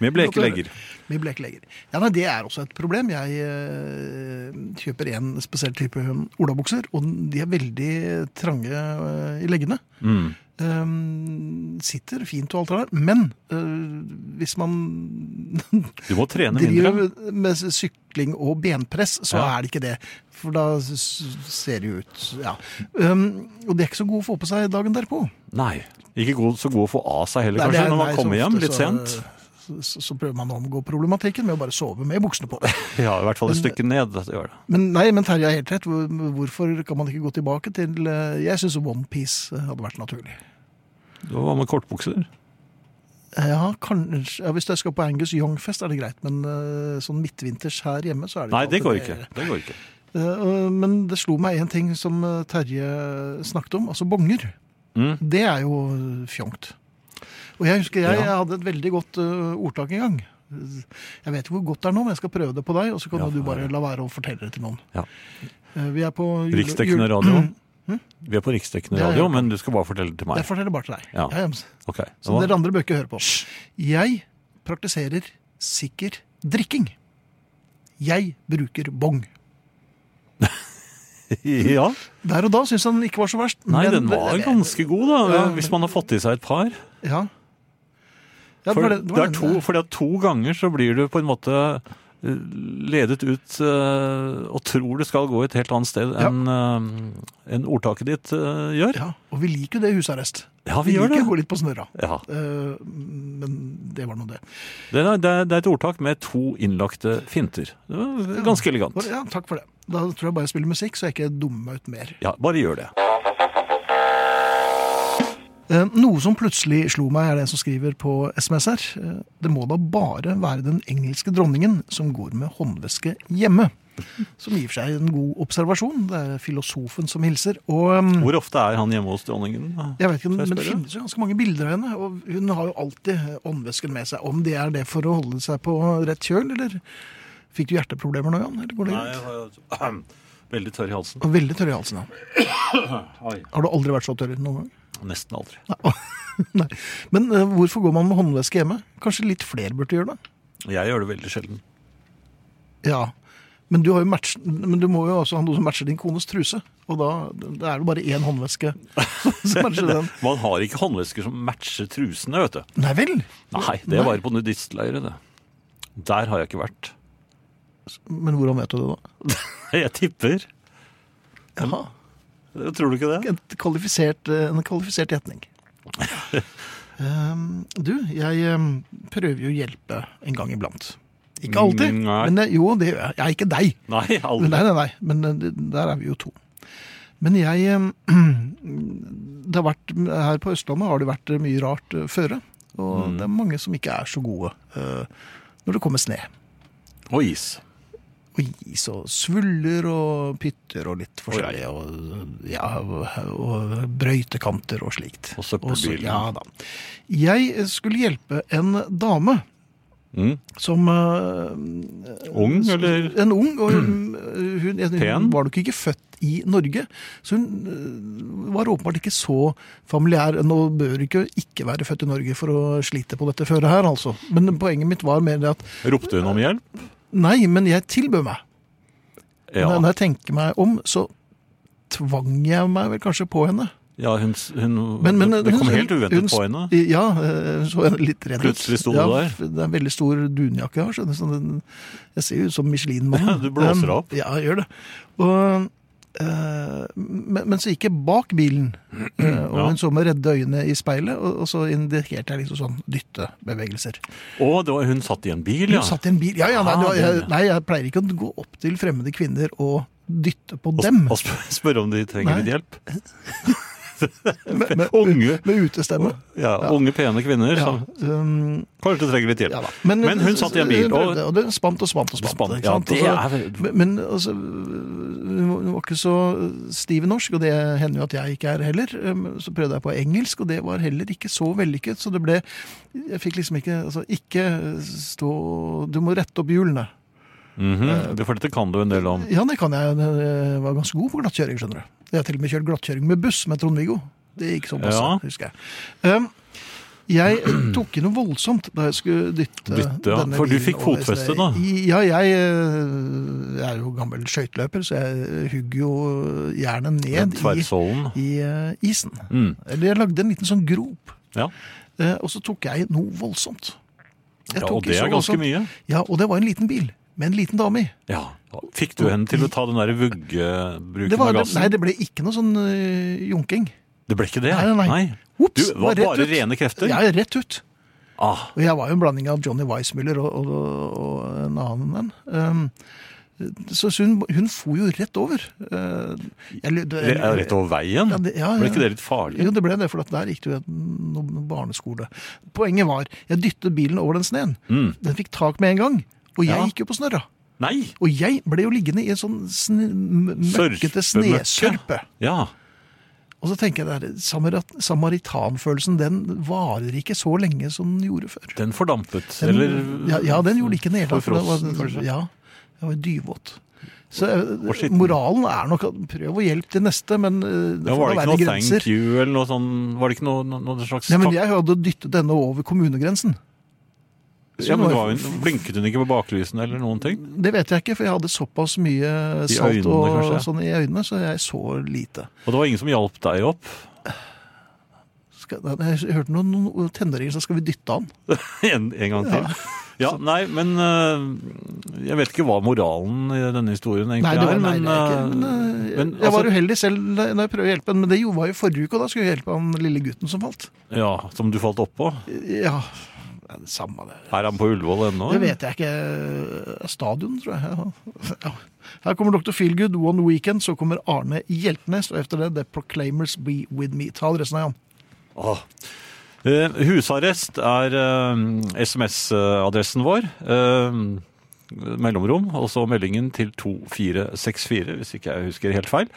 S3: Med
S2: *laughs*
S3: bleke legger.
S2: Med bleklegger. Ja, nei, Det er også et problem. Jeg eh, kjøper en spesiell type olabukser, og den- de er veldig trange eh, i leggene.
S3: Mm.
S2: Eh, sitter fint og alt det der, men eh, hvis
S3: *laughs*
S2: man
S3: Du må trene mindre.
S2: driver med sykling og benpress, så
S3: Ja.
S2: er det ikke det. For da s- ser det jo ut Ja. Um, og det er ikke så god å få på seg dagen derpå.
S3: Nei. Ikke god, så god å få av seg heller,
S2: Nei, det
S3: kanskje,
S2: er-
S3: når
S2: nei,
S3: man
S2: så
S3: kommer hjem
S2: ofte
S3: litt
S2: så-
S3: sent. *laughs*
S2: Så, så prøver man å omgå problematikken med å bare sove med buksene på.
S3: Ja, i hvert fall et stykke ned. dette gjør det.
S2: Men nei, men Terje har helt rett. Hvor- Hvorfor kan man ikke gå tilbake til eh, Jeg syns Onepiece eh, hadde vært naturlig.
S3: Hva med kortbukser?
S2: Eh, Ja, kanskje, ja, Hvis jeg skal på Angus Young-fest, er det greit. Men eh, sånn midtvinters her hjemme, så er det
S3: Nei,
S2: alltid
S3: det går ikke. Det går ikke.
S2: Eh, og- Men det slo meg en ting som eh, Terje snakket om, altså bonger.
S3: Mm.
S2: Det er jo fjongt. Og jeg husker jeg,
S3: Ja.
S2: hadde et veldig godt eh, ordtak en gang. Jeg vet ikke hvor godt det er nå, men jeg skal prøve det på deg, og så kan
S3: Ja,
S2: du bare
S3: ja.
S2: la være å fortelle det til noen.
S3: Ja.
S2: Eh, Vi er på jule-
S3: Riksdekkende
S2: jul- Mm.
S3: radio. Vi er på riksdekkende
S2: Ja, ja.
S3: radio, men du skal bare fortelle det til
S2: Jeg
S3: meg.
S2: forteller bare til deg.
S3: Ja.
S2: Ja, ja, men-
S3: Ok.
S2: Så
S3: Hva?
S2: dere andre bør ikke høre på. Jeg praktiserer sikker drikking. Jeg bruker bong.
S3: *laughs* Ja.
S2: Der og da syns han ikke var så verst.
S3: Nei,
S2: men-
S3: den var ganske god, da,
S2: Ja.
S3: hvis man har fått i seg et par.
S2: Ja. Ja,
S3: For
S2: var
S3: det,
S2: var
S3: er to, fordi at to ganger så blir du på en måte eh, ledet ut eh, og tror det skal gå et helt annet sted
S2: Ja.
S3: enn eh, enn ordtaket ditt eh, gjør.
S2: Ja, og vi liker jo det husarrest.
S3: Ja, vi gjør
S2: liker
S3: det.
S2: å gå litt på snørra.
S3: Ja.
S2: Eh, men det var nå det.
S3: Det, er, det er- det er et ordtak med to innlagte finter. Det var Ganske elegant.
S2: Ja, takk for det. Da tror jeg bare jeg spiller musikk, så jeg ikke dummer meg ut mer.
S3: Ja, bare gjør det.
S2: Eh, noe som plutselig slo meg, er det som skriver på SMS her. Eh, det må da bare være den engelske dronningen som går med håndveske hjemme. Som i og for seg er en god observasjon. Det er filosofen som hilser. Og ehm,
S3: Hvor ofte er han hjemme hos dronningen?
S2: Jeg vet ikke,
S3: Får jeg
S2: men Det
S3: spørre?
S2: finnes jo ganske mange bilder av henne, og hun har jo alltid åndvesken med seg. Om det er det for å holde seg på rett kjøl, eller fikk du hjerteproblemer nå, Jan? Eller går det
S3: Nei,
S2: greit?
S3: jeg har jo- Veldig tørr i halsen.
S2: Og Veldig tørr i halsen. Ja.
S3: *coughs* Oi.
S2: Har du aldri vært så tørr noen gang? *laughs*
S3: Nesten aldri.
S2: Nei. Men eh, hvorfor går man med håndveske hjemme? Kanskje litt flere burde gjøre det?
S3: Jeg gjør det veldig sjelden.
S2: Ja. Men du, har jo match, men du må jo også ha noe som matcher din kones truse. Og da det er det bare én håndveske som
S3: *laughs*
S2: matcher den.
S3: Man har ikke håndvesker som matcher trusene, vet du.
S2: Nei vel?
S3: Nei, det var på nudistleire, det. Der har jeg ikke vært. *laughs*
S2: Men hvordan vet du det, da?
S3: Jeg tipper.
S2: Jaha.
S3: Tror du ikke det?
S2: et kvalifisert, en kvalifisert
S3: *laughs*
S2: gjetning. Ehm, du, jeg ehm, prøver jo å hjelpe en gang iblant. Ikke alltid,
S3: Mm, Nei.
S2: men jeg- jo, det gjør jeg. Jeg er ikke deg.
S3: Nei, aldri.
S2: Nei, nei, nei, men eh, det- der er vi jo to. Men jeg ehm, *clears throat* det har vært, Her på Østlandet har det vært mye rart eh, føre. Og
S3: Mm.
S2: det er mange som ikke er så gode eh, når det kommer snø.
S3: Og is.
S2: Og is og svuller og pytter og litt forskjellig. Og, ja, og brøytekanter og slikt.
S3: Og
S2: så-
S3: søppelbilen.
S2: Ja da. Jeg skulle hjelpe en dame
S3: Mm.
S2: som eh,
S3: Ung, eller?
S2: En ung. Og hun, hun, hun
S3: Pen?
S2: var nok ikke født i Norge, så hun eh, var åpenbart ikke så familiær. Nå bør du ikke, ikke være født i Norge for å slite på dette føret her, altså. Men poenget mitt var mer det at
S3: Ropte hun om hjelp?
S2: nei, men jeg tilbød meg.
S3: Ja.
S2: Når- Når jeg tenker meg om, så tvang jeg meg vel kanskje på henne.
S3: Ja, hun, hun,
S2: Men- men
S3: det kom
S2: hun-
S3: helt uventet
S2: hun-
S3: på henne.
S2: Ja, eh, så jeg litt redd ut.
S3: Plutselig sto du
S2: ja,
S3: der.
S2: f- Det er en veldig stor dunjakke jeg har. skjønner du, så den- Jeg ser jo ut som Michelin-mannen.
S3: Ja, *laughs* du blåser
S2: Um,
S3: opp.
S2: Ja, jeg gjør det. Og, eh, men, men så gikk jeg bak bilen, eh, og
S3: Ja.
S2: hun så med redde øyne i speilet, og, og så indikerte jeg liksom sånn dyttebevegelser.
S3: Og det var, hun satt i en bil,
S2: Hun
S3: ja.
S2: satt i en bil. Ja, ja, nei,
S3: Ah,
S2: det var, jeg,
S3: den, ja.
S2: nei, jeg pleier ikke å gå opp til fremmede kvinner og dytte på
S3: Og,
S2: dem.
S3: og spør, spør om de trenger
S2: Nei.
S3: litt hjelp.
S2: Med, med,
S3: Unge,
S2: med utestemme.
S3: ja, unge pene kvinner
S2: Ja,
S3: som
S2: um,
S3: kanskje trenger litt hjelp.
S2: Ja da.
S3: Men hun satt i en bil,
S2: Hun
S3: og-
S2: prøvde, og det spant og spant og spant.
S3: Spant,
S2: ikke
S3: ja,
S2: sant?
S3: det
S2: Og så-
S3: er vel-
S2: men- Men altså, hun var- hun var ikke så stiv i norsk, og det hender jo at jeg ikke er heller. Um, Så prøvde jeg på engelsk, og det var heller ikke så vellykket. Så det ble Jeg fikk liksom ikke Altså, ikke stå Du må rette opp hjulene.
S3: Mhm, For dette kan du en del om.
S2: Ja, det kan jeg. Jeg var ganske god på glattkjøring, skjønner du. Jeg har til og med kjørt glattkjøring med buss med Trond-Viggo. Det gikk sånn passe,
S3: Ja.
S2: husker jeg. Um, jeg *clears throat* tok i noe voldsomt da jeg skulle dytte
S3: Dytte, ja. For du
S2: bilen
S3: fikk
S2: over
S3: fotfeste,
S2: stedet.
S3: da?
S2: I- Ja, jeg, eh, jeg er jo gammel skøyteløper, så jeg eh, hugger jo jernet ned i,
S3: Tverrsålen.
S2: i eh, isen.
S3: Mm.
S2: Eller jeg lagde en liten sånn grop.
S3: Ja.
S2: Eh, Og så tok jeg noe voldsomt. Jeg
S3: ja,
S2: tok
S3: og
S2: i
S3: det
S2: så
S3: er ganske
S2: voldsomt.
S3: mye.
S2: Ja, og det var en liten bil med en liten dame i.
S3: Ja. Fikk du henne til å ta den der vuggebruken
S2: Det var,
S3: av
S2: det,
S3: gassen?
S2: nei, det ble ikke noe sånn øh, junking.
S3: Det ble ikke det?
S2: Nei, nei, nei. Ops,
S3: Du
S2: det var
S3: var
S2: rett
S3: bare
S2: ut.
S3: rene krefter?
S2: Ja, rett ut.
S3: Ah,
S2: Og jeg var jo en blanding av Johnny Weissmuller og, og, og en annen en. Um, så så hun, hun for jo rett over. Uh, jeg, lu- det-
S3: re- rett over veien?
S2: Ja, det- ja, ja.
S3: Ble ikke det litt farlig?
S2: Jo, det ble det, for at der gikk det jo en noen barneskole. Poenget var, jeg dyttet bilen over den sneen.
S3: Mm.
S2: Den fikk tak med en gang, og jeg
S3: Ja.
S2: gikk jo på snørra.
S3: Nei!
S2: Og jeg ble jo liggende i en sånn sne, m- møkkete
S3: Sørpemøkke.
S2: snesørpe.
S3: Ja.
S2: Og så tenker jeg der, samarat- samaritanfølelsen den varer ikke så lenge som den gjorde før.
S3: Den fordampet,
S2: Den,
S3: eller
S2: ja, ja, den gjorde ikke det hele tatt. for det var-
S3: forfrossen, kanskje?
S2: Ja, jeg var dyvåt. Så eh,
S3: Og skitten.
S2: moralen er nok at prøv å hjelpe til neste, men eh, det
S3: Ja,
S2: får
S3: var det
S2: da være
S3: ikke noe thank
S2: grenser.
S3: you eller noe sånn Var det ikke noe, noe, noe slags
S2: Nei, men
S3: takk-
S2: jeg hadde dyttet denne over kommunegrensen. så
S3: ja, men
S2: det
S3: var
S2: var-
S3: hun, Blinket hun ikke på baklysene eller noen ting?
S2: Det vet jeg ikke, for jeg hadde såpass mye
S3: I
S2: salt
S3: øynene,
S2: og,
S3: kanskje, ja.
S2: sånn i øynene, så jeg så lite.
S3: Og det var ingen som hjalp deg opp? *laughs*
S2: Skal, jeg hørte noen, noen tenåringer som skal vi dytte han.
S3: en, en gang til? Ja, nei, men øh, Jeg vet ikke hva moralen i denne historien egentlig
S2: Nei, det var,
S3: er,
S2: nei,
S3: men,
S2: det er ikke, men,
S3: øh,
S2: eh,
S3: men
S2: jeg var
S3: altså,
S2: uheldig selv da da jeg prøvde å hjelpe ham, men det jo- var jo forrige uke, og da skulle jeg hjelpe han lille gutten som falt.
S3: Ja, Som du falt oppå?
S2: Ja, det er det samme det.
S3: Er han på Ullevål ennå?
S2: Det vet jeg ikke. Stadion, tror jeg. Ja. Her kommer Dr. Feelgood, One Weekend, så kommer Arne Hjeltnes, og efter det The Proclaimers Be With Me. Ta adressen av Jan.
S3: Ah. Eh, husarrest er eh, SMS-adressen vår. Eh, mellomrom, og så meldingen til 2464, hvis ikke jeg husker helt feil.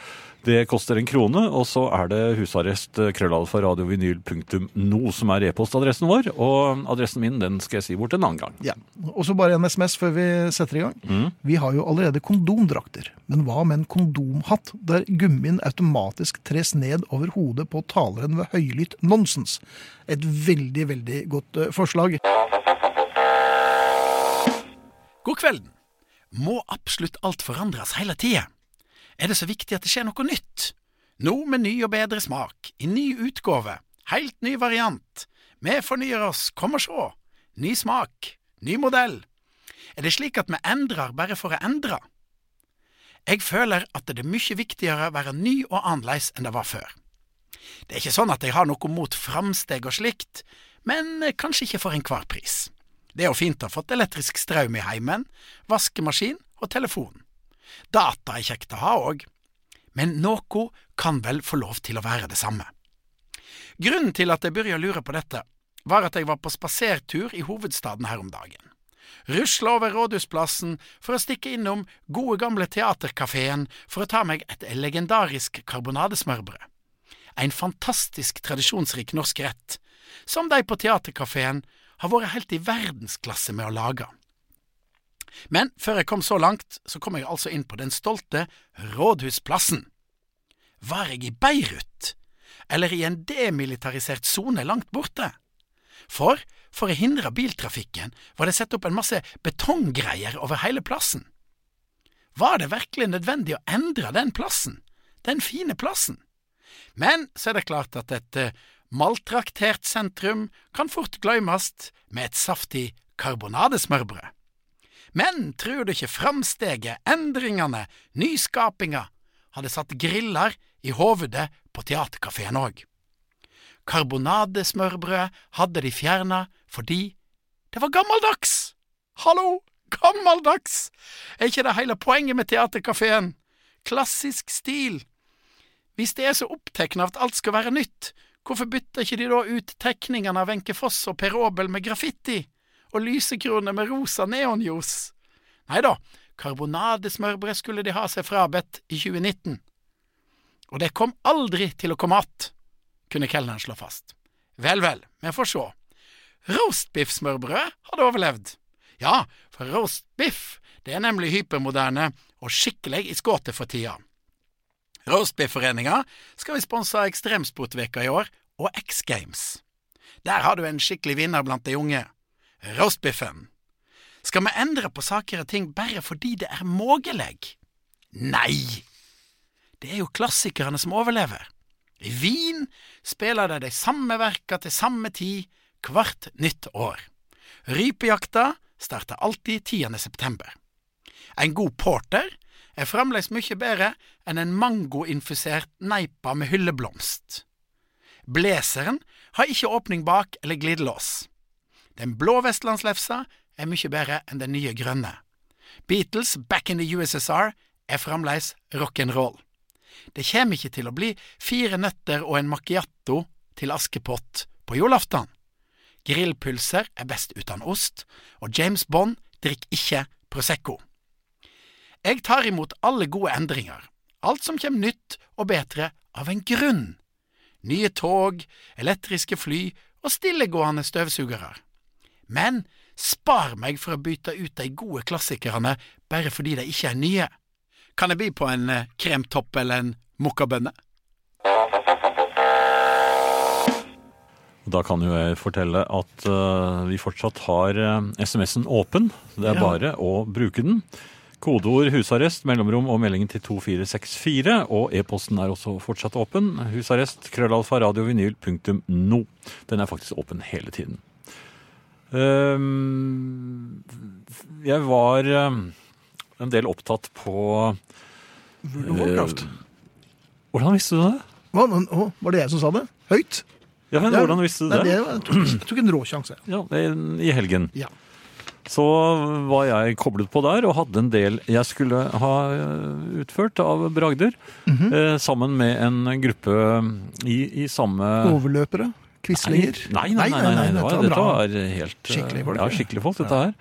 S3: Det koster en krone, og så er det husarrest eh, krøllalfa radiovinyl.no som er e-postadressen vår. Og adressen min den skal jeg si bort en annen gang.
S2: Ja. Og så bare en SMS før vi setter i gang. Vi har jo allerede kondomdrakter, men hva med en kondomhatt der gummien automatisk tres ned over hodet på taleren ved høylytt nonsens? Et veldig, veldig godt eh, forslag.
S4: God kvelden. Må absolutt alt forandres hele tida? Er det så viktig at det skjer noe nytt? Nå med ny og bedre smak, i ny utgave, helt ny variant. Vi fornyer oss, kom og sjå. Ny smak, ny modell. Er det slik at vi endrer bare for å endre? Jeg føler at det er mye viktigere å være ny og annerledes enn det var før. Det er ikke sånn at jeg har noe mot framsteg og slikt, men kanskje ikke for enhver pris. Det er jo fint å ha fått elektrisk strøm i heimen, vaskemaskin og telefon. Data er kjekt å ha òg, men noe kan vel få lov til å være det samme. Grunnen til at jeg begynte å lure på dette, var at jeg var på spasertur i hovedstaden her om dagen. Rusla over Rådhusplassen for å stikke innom gode gamle Teaterkafeen for å ta meg et legendarisk karbonadesmørbrød en fantastisk tradisjonsrik norsk rett, som de på Theatercaféen har vært helt i verdensklasse med å lage. Men før jeg kom så langt, så kom jeg altså inn på den stolte Rådhusplassen. Var jeg i Beirut, eller i en demilitarisert sone langt borte? For, for å hindre biltrafikken, var det satt opp en masse betonggreier over hele plassen. Var det virkelig nødvendig å endre den plassen, den fine plassen? Men så er det klart at et eh, maltraktert sentrum kan fort glemmes med et saftig karbonadesmørbrød. Men tror du ikke framsteget, endringene, nyskapinga hadde satt griller i hovedet på teaterkafeen òg? Karbonadesmørbrødet hadde de fjerna fordi det var gammeldags! Hallo, gammeldags! Er ikke det hele poenget med teaterkafeen? Klassisk stil. Hvis de er så opptatt av at alt skal være nytt, hvorfor bytter ikke de da ut tegningene av Wenche Foss og Per Aabel med graffiti, og lysekroner med rosa neonljos? Nei da, karbonadesmørbrød skulle de ha seg frabedt i 2019. Og det kom aldri til å komme att, kunne kelneren slå fast. Vel, vel, vi får sjå. Roastbiff-smørbrød hadde overlevd. Ja, for roastbiff det er nemlig hypermoderne og skikkelig i skuddet for tida. Roastbiff-foreninga skal vi sponse Ekstremsportveka i år og X Games. Der har du en skikkelig vinner blant de unge. Roastbiffen. Skal vi endre på saker og ting bare fordi det er mogelig? Nei! Det er jo klassikerne som overlever. I Wien spiller de de samme verka til samme tid hvert nytt år. Rypejakta starter alltid 10. september. En god porter er fremdeles mye bedre enn en mangoinfusert neipa med hylleblomst. Blazeren har ikke åpning bak eller glidelås. Den blå vestlandslefsa er mye bedre enn den nye grønne. Beatles Back in the USSR er fremdeles rock'n'roll. Det kommer ikke til å bli fire nøtter og en macchiato til Askepott på julaften. Grillpulser er best uten ost, og James Bond drikker ikke Prosecco. Jeg tar imot alle gode endringer, alt som kommer nytt og bedre av en grunn. Nye tog, elektriske fly og stillegående støvsugere. Men spar meg for å bytte ut de gode klassikerne bare fordi de ikke er nye. Kan jeg by på en eh, kremtopp eller en mokkabønne?
S3: Da kan jo jeg fortelle at eh, vi fortsatt har eh, SMS-en åpen. Det er
S2: Ja.
S3: bare å bruke den. Kodeord husarrest, mellomrom og meldingen til 2464. Og e-posten er også fortsatt åpen. Husarrest, krøllalfa, radiovinyl, punktum no. Den er faktisk åpen hele tiden. Ehm, jeg var eh, en del opptatt på
S2: World of Warcraft.
S3: Hvordan visste du det?
S2: Hva, men, å, var det jeg som sa det? Høyt?
S3: Ja, men
S2: Ja.
S3: hvordan visste du
S2: Nei,
S3: det?
S2: det var, jeg, tok, jeg tok en rå sjanse.
S3: Ja, I helgen.
S2: Ja.
S3: Så var jeg koblet på der og hadde en del jeg skulle ha eh, utført av bragder.
S2: Mhm.
S3: eh, sammen med en gruppe i, i samme
S2: Overløpere? Quislinger?
S3: Nei, nei, nei, nei, nei, det var,
S2: dette
S3: dette
S2: var bra.
S3: var helt eh,
S2: Skikkelig folk,
S3: Ja,
S2: ja.
S3: skikkelig folk, dette her.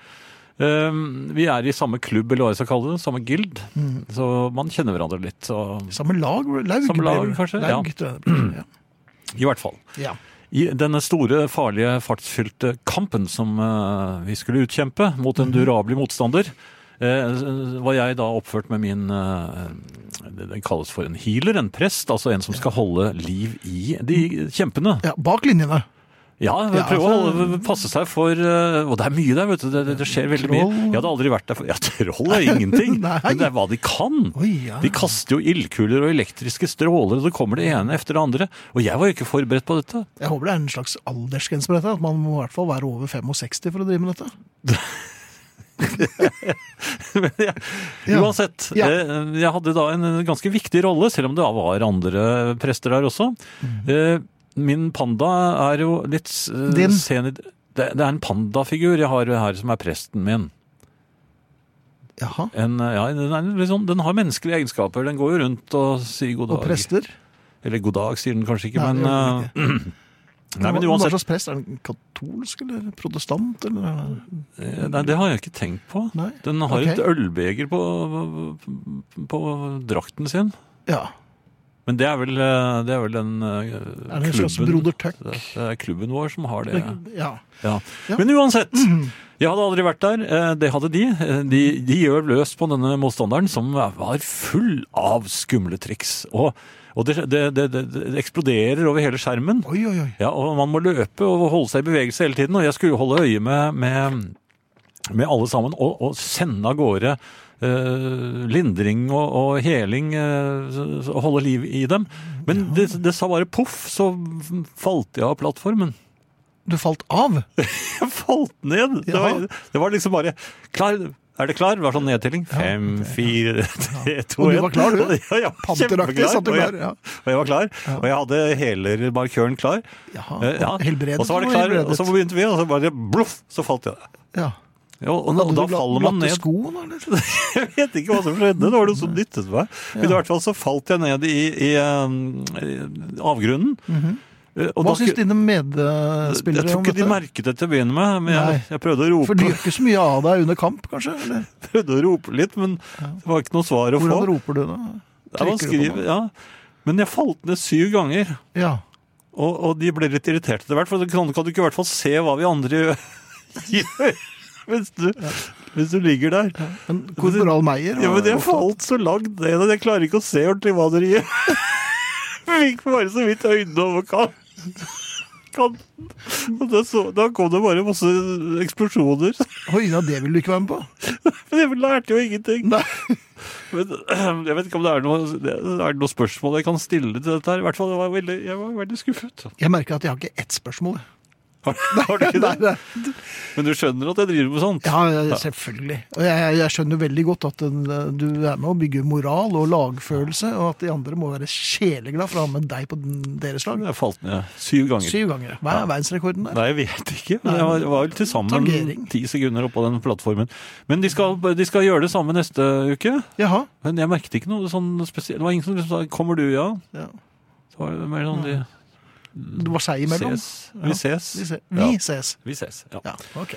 S3: Ehm, vi er i samme klubb, eller hva jeg skal kalle det, samme guild.
S2: Mhm.
S3: Så man kjenner hverandre litt. Så,
S2: Samme lag? Laug,
S3: Samme lag,
S2: ble det.
S3: kanskje?
S2: Laug,
S3: Ja.
S2: tror jeg det ble.
S3: I hvert fall.
S2: Ja.
S3: I denne store, farlige, fartsfylte kampen som eh, vi skulle utkjempe mot
S2: Mhm.
S3: en durabelig motstander, eh, var jeg da oppført med min eh, det det kalles for en healer, en prest, altså en som skal holde liv i de kjempene.
S2: ja. Bak linjene.
S3: Ja,
S2: Ja,
S3: prøve å
S2: altså-
S3: holde- passe seg for eh, Og det er mye der, vet du. Det, det, det skjer veldig mye.
S2: Troll.
S3: Jeg hadde aldri vært der for Ja, troll er ingenting.
S2: *laughs* Nei.
S3: Men det er hva de kan.
S2: Oi, ja.
S3: De kaster jo ildkuler og elektriske stråler, og så kommer det ene efter det andre. Og jeg var jo ikke forberedt på dette.
S2: Jeg håper det er en slags aldersgrense på dette. At man må i hvert fall være over 65 for å drive med dette.
S3: *laughs* Men jeg-
S2: Ja.
S3: Uansett,
S2: Ja.
S3: eh, jeg hadde da en ganske viktig rolle, selv om det var andre prester der også.
S2: Mm.
S3: Eh, Min panda er jo litt s- eh,
S2: Din?
S3: sen i det, det er en pandafigur jeg har her som er presten min.
S2: Jaha.
S3: En, eh, ja, den, er litt sånn, den har menneskelige egenskaper. Den går jo rundt og sier god dag.
S2: Og prester?
S3: Eller god dag sier den kanskje ikke,
S2: Nei,
S3: men,
S2: det gjør
S3: eh, *clears throat* nei,
S2: Hva-
S3: men
S2: Hva
S3: uansett.
S2: slags prest? Er den katolsk eller protestant? Eller?
S3: Eh, Nei, det har jeg ikke tenkt på.
S2: Nei?
S3: Den har
S2: Ok.
S3: et ølbeger på, på drakten sin.
S2: Ja.
S3: Men det er vel, eh, det er vel den eh,
S2: Er det en slags
S3: klubben-
S2: broder Tuck?
S3: Det er klubben vår som har det.
S2: Ja.
S3: Ja.
S2: Ja. Mm.
S3: Men uansett, jeg hadde aldri vært der. eh, Det hadde de. Eh, De, de gjør løs på denne motstanderen, som var full av skumle triks. Og, og det, det, det, det, det eksploderer over hele skjermen.
S2: Oi, oi, oi.
S3: Ja, og man må løpe og holde seg i bevegelse hele tiden. Og jeg skulle jo holde øye med, med, med alle sammen og, og sende av gårde eh, lindring og, og heling eh, så- så holde liv i dem. Men det, det sa bare poff, så falt jeg av plattformen.
S2: Du falt av?
S3: Jeg *laughs* falt ned! Det var,
S2: Jaha.
S3: det var liksom bare klar, Er det klar? Det var sånn nedtelling. Fem, fire, *laughs* tre, to,
S2: Og du var klar, du?
S3: *laughs* Ja, ja,
S2: Panteraktig
S3: kjempeklar.
S2: satt du
S3: Og
S2: klar.
S3: jeg-
S2: Ja.
S3: og jeg var klar, og jeg hadde helermarkøren klar.
S2: Jaha,
S3: Eh, ja.
S2: helbredet
S3: Og så var det
S2: og
S3: klar,
S2: helbredet.
S3: og så begynte vi, og så bare bluff, så falt jeg.
S2: Ja.
S3: Ja, og, og, og da faller man ned.
S2: skoen, eller?
S3: *laughs* Jeg vet ikke hva som skjedde, det var noe som dyttet meg. Men i hvert fall så falt jeg ned i, i, eh, i avgrunnen. Eh, og
S2: Mhm. Hva
S3: da-
S2: syns dine
S3: Jeg
S2: medspillere
S3: tror
S2: om
S3: ikke de
S2: dette?
S3: merket det til å begynne med, men jeg,
S2: Nei.
S3: jeg prøvde, å rope,
S2: For de gjør ikke så mye av deg under kamp, kanskje? Eller?
S3: prøvde å rope litt, men det var ikke noe svar å
S2: Hvordan
S3: få.
S2: roper du da?
S3: Ja, man
S2: Trykker du på
S3: skriver,
S2: noe?
S3: ja. Men jeg falt ned syv ganger.
S2: Ja.
S3: Og, og de ble litt irritert etter hvert, for da kan, kan du ikke i hvert fall se hva vi andre *laughs* gjør hvis, du, hvis du ligger der.
S2: Men korporal Meyer
S3: Ja,
S2: var
S3: men jeg
S2: opptatt.
S3: falt så langt ned at jeg klarer ikke å se ordentlig hva dere gjør. *laughs* Jeg Fikk bare så vidt øynene over kan- kanten. Og da, så, da kom det bare masse eksplosjoner. *laughs*
S2: Oi, ja, det vil du ikke være med på?
S3: Men jeg lærte jo ingenting.
S2: Nei.
S3: Men *clears throat* jeg vet ikke om det er noe, det, er det noe spørsmål jeg kan stille til dette her. I hvert fall jeg var veldig, jeg var veldig skuffet. *laughs*
S2: Jeg merker at jeg har ikke ett spørsmål.
S3: Har, har du ikke
S2: Nei,
S3: det?
S2: nei.
S3: Men du skjønner at jeg driver med sånt?
S2: Ja, ja, selvfølgelig. Og jeg, jeg skjønner veldig godt at den, eh, du er med å bygge moral og lagfølelse, og at de andre må være sjeleglad for å ha med deg på den- deres lag.
S3: Jeg falt ned syv ganger.
S2: Syv ganger. Hva er verdensrekorden der?
S3: Nei, jeg vet ikke. Men jeg var, var vel til sammen
S2: Tangering.
S3: ti sekunder oppå den plattformen. Men de skal, de skal gjøre det samme neste uke.
S2: Jaha.
S3: Men jeg merket ikke noe sånn spesielt. Det var ingen som liksom sa 'kommer du', ja.
S2: Ja.
S3: Så var det mer sånn de
S2: Det var seg imellom.
S3: ses. Vi ses.
S2: Vi, se
S3: Ja.
S2: vi ses.
S3: Vi ses. Ja.
S2: Ja, ok.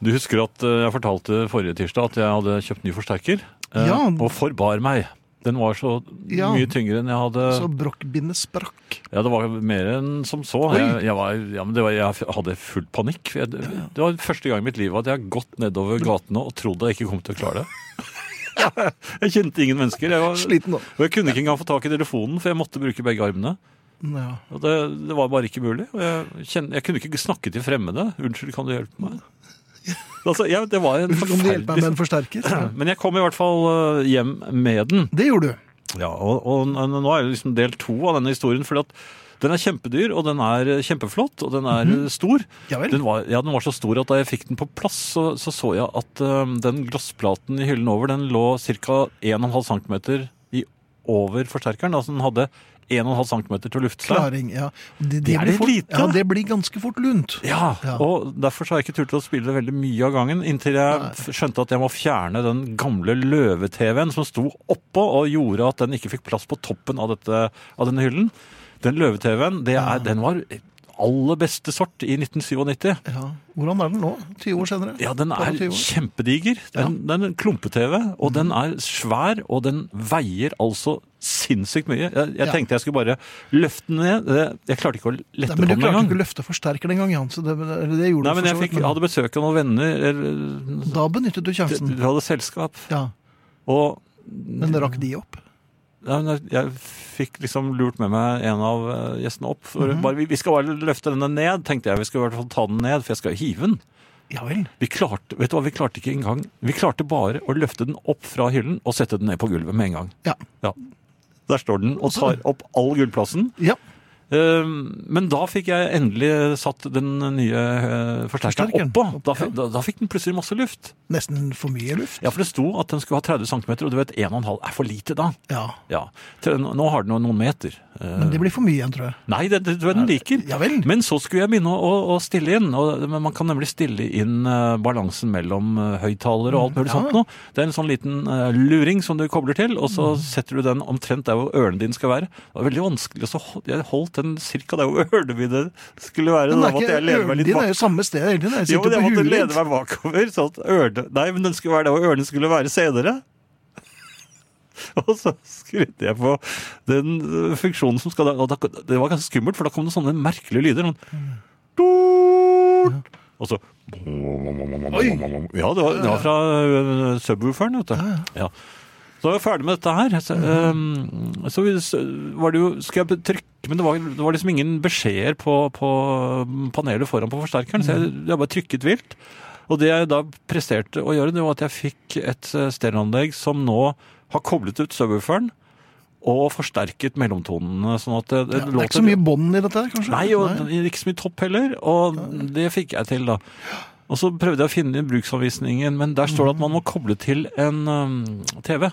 S3: Du husker at eh, jeg fortalte forrige tirsdag at jeg hadde kjøpt ny forsterker. eh,
S2: Ja.
S3: Og forbar meg. Den var så
S2: Ja.
S3: mye tyngre enn jeg hadde
S2: Så brokkbindet sprakk.
S3: Ja, det var mer enn som så.
S2: Oi.
S3: Jeg, jeg, var, ja, men det var, jeg hadde full panikk. Jeg, det var første gang i mitt liv at jeg har gått nedover gatene og trodd jeg ikke kom til å klare det. *laughs* Jeg kjente ingen mennesker. Jeg var,
S2: Sliten nå.
S3: og jeg kunne ikke engang få tak i telefonen, for jeg måtte bruke begge armene.
S2: Ja.
S3: Og det, det var bare ikke mulig. Og jeg, kjen- jeg kunne ikke snakke til fremmede. 'Unnskyld, kan du hjelpe
S2: *laughs*
S3: meg?' Altså, jeg, det var en
S2: Kan du hjelpe meg med en
S3: forferdelig
S2: forsterker?
S3: Men jeg kom i hvert fall øh, hjem med den.
S2: Det gjorde du.
S3: Ja, og, og n- n- nå er det liksom del to av denne historien, fordi at den er kjempedyr, og den er eh, kjempeflott, og den er eh, stor.
S2: Ja vel.
S3: Den var, ja, den var så stor at da jeg fikk den på plass, så så, så jeg at eh, den glassplaten i hyllen over, den lå ca. 1,5 cm i over forsterkeren. Altså den hadde 1,5 cm til å lufte seg.
S2: Klaring, ja. Det,
S3: Det er
S2: blir
S3: litt
S2: fort,
S3: lite.
S2: Ja, det blir ganske fort lunt.
S3: Ja,
S2: Ja.
S3: og derfor så har jeg ikke turt å spille det veldig mye av gangen, inntil jeg f- skjønte at jeg må fjerne den gamle løve-TV-en som sto oppå og gjorde at den ikke fikk plass på toppen av, dette, av denne hyllen. Den løve-TV-en, det er- den var aller beste sort i 1997.
S2: Ja. Hvordan er den nå, 20 år senere?
S3: Ja, den
S2: Bare
S3: er
S2: 20 år.
S3: kjempediger. Den, den er en klumpe-TV, og den er svær, og den veier altså sinnssykt mye. Jeg, jeg
S2: Ja. tenkte
S3: tenkte jeg skulle bare løfte den ned. Det- Jeg klarte ikke å
S2: Nei,
S3: lette på
S2: men du
S3: den
S2: klarte ikke å
S3: engang.
S2: løfte forsterkeren engang, Jan. Så det, eller det gjorde
S3: Nei,
S2: du for
S3: men jeg
S2: så vidt,
S3: fikk, hadde besøk av noen venner, eller
S2: Da benyttet du sjansen.
S3: Vi hadde selskap,
S2: Ja,
S3: og
S2: Men rakk de opp?
S3: ja, men jeg fikk liksom lurt med meg en av eh, gjestene opp. For
S2: Mhm.
S3: bare, vi- vi skal bare løfte denne ned, tenkte jeg. Vi skal i hvert fall ta den ned, for jeg skal jo hive den.
S2: Ja vel.
S3: Vi klarte, vet du hva, vi klarte ikke engang Vi klarte bare å løfte den opp fra hyllen og sette den ned på gulvet med en gang.
S2: Ja.
S3: Ja. Der står den og tar opp all gullplassen.
S2: ja.
S3: Eh, Men da fikk jeg endelig satt den nye eh, forsterkeren
S2: Forsterkeren.
S3: oppå. Da, fikk- da, da fikk den plutselig masse luft.
S2: Nesten for mye luft?
S3: Ja, for det sto at den skulle ha 30 cm, og du vet 1,5 er for lite da.
S2: Ja.
S3: Ja. Til- Nå har den jo noen meter. Eh,
S2: Men det blir for mye igjen, tror jeg.
S3: Nei, det, det tror jeg den liker.
S2: Ja vel.
S3: Men så skulle jeg begynne å, å, å stille inn. Og, men man kan nemlig stille inn eh, balansen mellom uh,
S2: Mm,
S3: høyttalere og alt mulig sånt noe. Det er en sånn liten eh, luring som du kobler til, og så
S2: Mm.
S3: setter du den omtrent der hvor ørene dine skal være. Det var veldig vanskelig, så hol- jeg holdt den cirka der hvor *laughs* ørene mine skulle være.
S2: Men
S3: Da
S2: det er
S3: måtte jeg
S2: ikke,
S3: lene meg litt
S2: din
S3: bak.
S2: er jo samme sted hele tiden. Jeg
S3: Jo, men
S2: sitter
S3: jeg
S2: på
S3: måtte
S2: huet
S3: lene
S2: ditt.
S3: meg bakover, så at ørene Nei, men den skulle være der hvor ørene skulle være senere. *laughs* Og så skrudde jeg på den øh, funksjonen som skal og da, Det var ganske skummelt, for da kom det sånne merkelige lyder. Sånn,
S2: Mm.
S3: tut, og så Ja, det var, det var fra øh, subwooferen, vet du. Ja. Så var jeg ferdig med dette her. Så,
S2: Mhm.
S3: øhm, så vi- så var det jo Skal jeg trykke Men det var, det var liksom
S2: Mhm.
S3: ingen beskjeder på, på panelet foran på forsterkeren, så jeg, jeg bare trykket vilt. Og det jeg da presterte å gjøre, det var at jeg fikk et eh, stereoanlegg som nå har koblet ut subwooferen og forsterket mellomtonene, sånn at det, det
S2: Ja, det er
S3: låter
S2: ikke så mye bånd i dette her, kanskje?
S3: Nei, og ikke så mye topp heller, og det fikk jeg til da. Og så prøvde jeg å finne bruksanvisningen, men der står det at man må koble til en øhm, TV.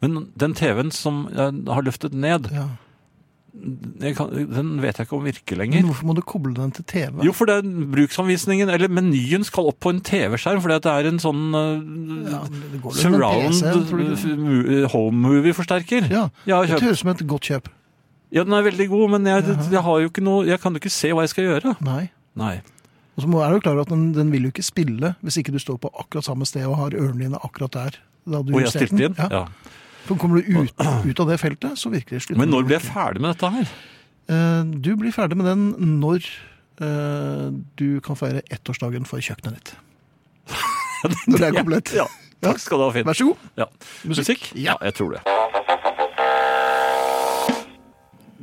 S3: Men den TV-en som jeg har løftet ned,
S2: Ja.
S3: jeg kan, den vet jeg ikke om virker
S2: Men
S3: lenger.
S2: hvorfor må du koble den til TV?
S3: Jo, for det er bruksanvisningen, eller menyen skal opp på en TV-skjerm, fordi at det er en sånn øh,
S2: Ja, det går vel med en
S3: surround
S2: PC, tror du
S3: øh,
S2: ikke?
S3: mu- home movie-forsterker.
S2: Ja,
S3: Jeg har
S2: det
S3: kjøpt.
S2: høres ut som et godt kjøp.
S3: Ja, den er veldig god, men jeg, jeg, har jo ikke noe, jeg kan jo ikke se hva jeg skal gjøre.
S2: Nei.
S3: Nei.
S2: Og så må- er du klar over at den, den vil jo ikke spille hvis ikke du står på akkurat samme sted og har ørene dine akkurat der. Da du
S3: Og jeg
S2: justerte
S3: stilte
S2: den.
S3: inn. Ja.
S2: For kommer du ut, ut av det feltet, så virker det slutt.
S3: Men når ble jeg ferdig med dette her?
S2: Eh, Du blir ferdig med den når eh, du kan feire ettårsdagen for kjøkkenet
S3: *laughs*
S2: ditt. Når det er komplett.
S3: Ja, takk skal du ha, Finn.
S2: Vær så god.
S3: Ja. Musikk? Ja, jeg tror det.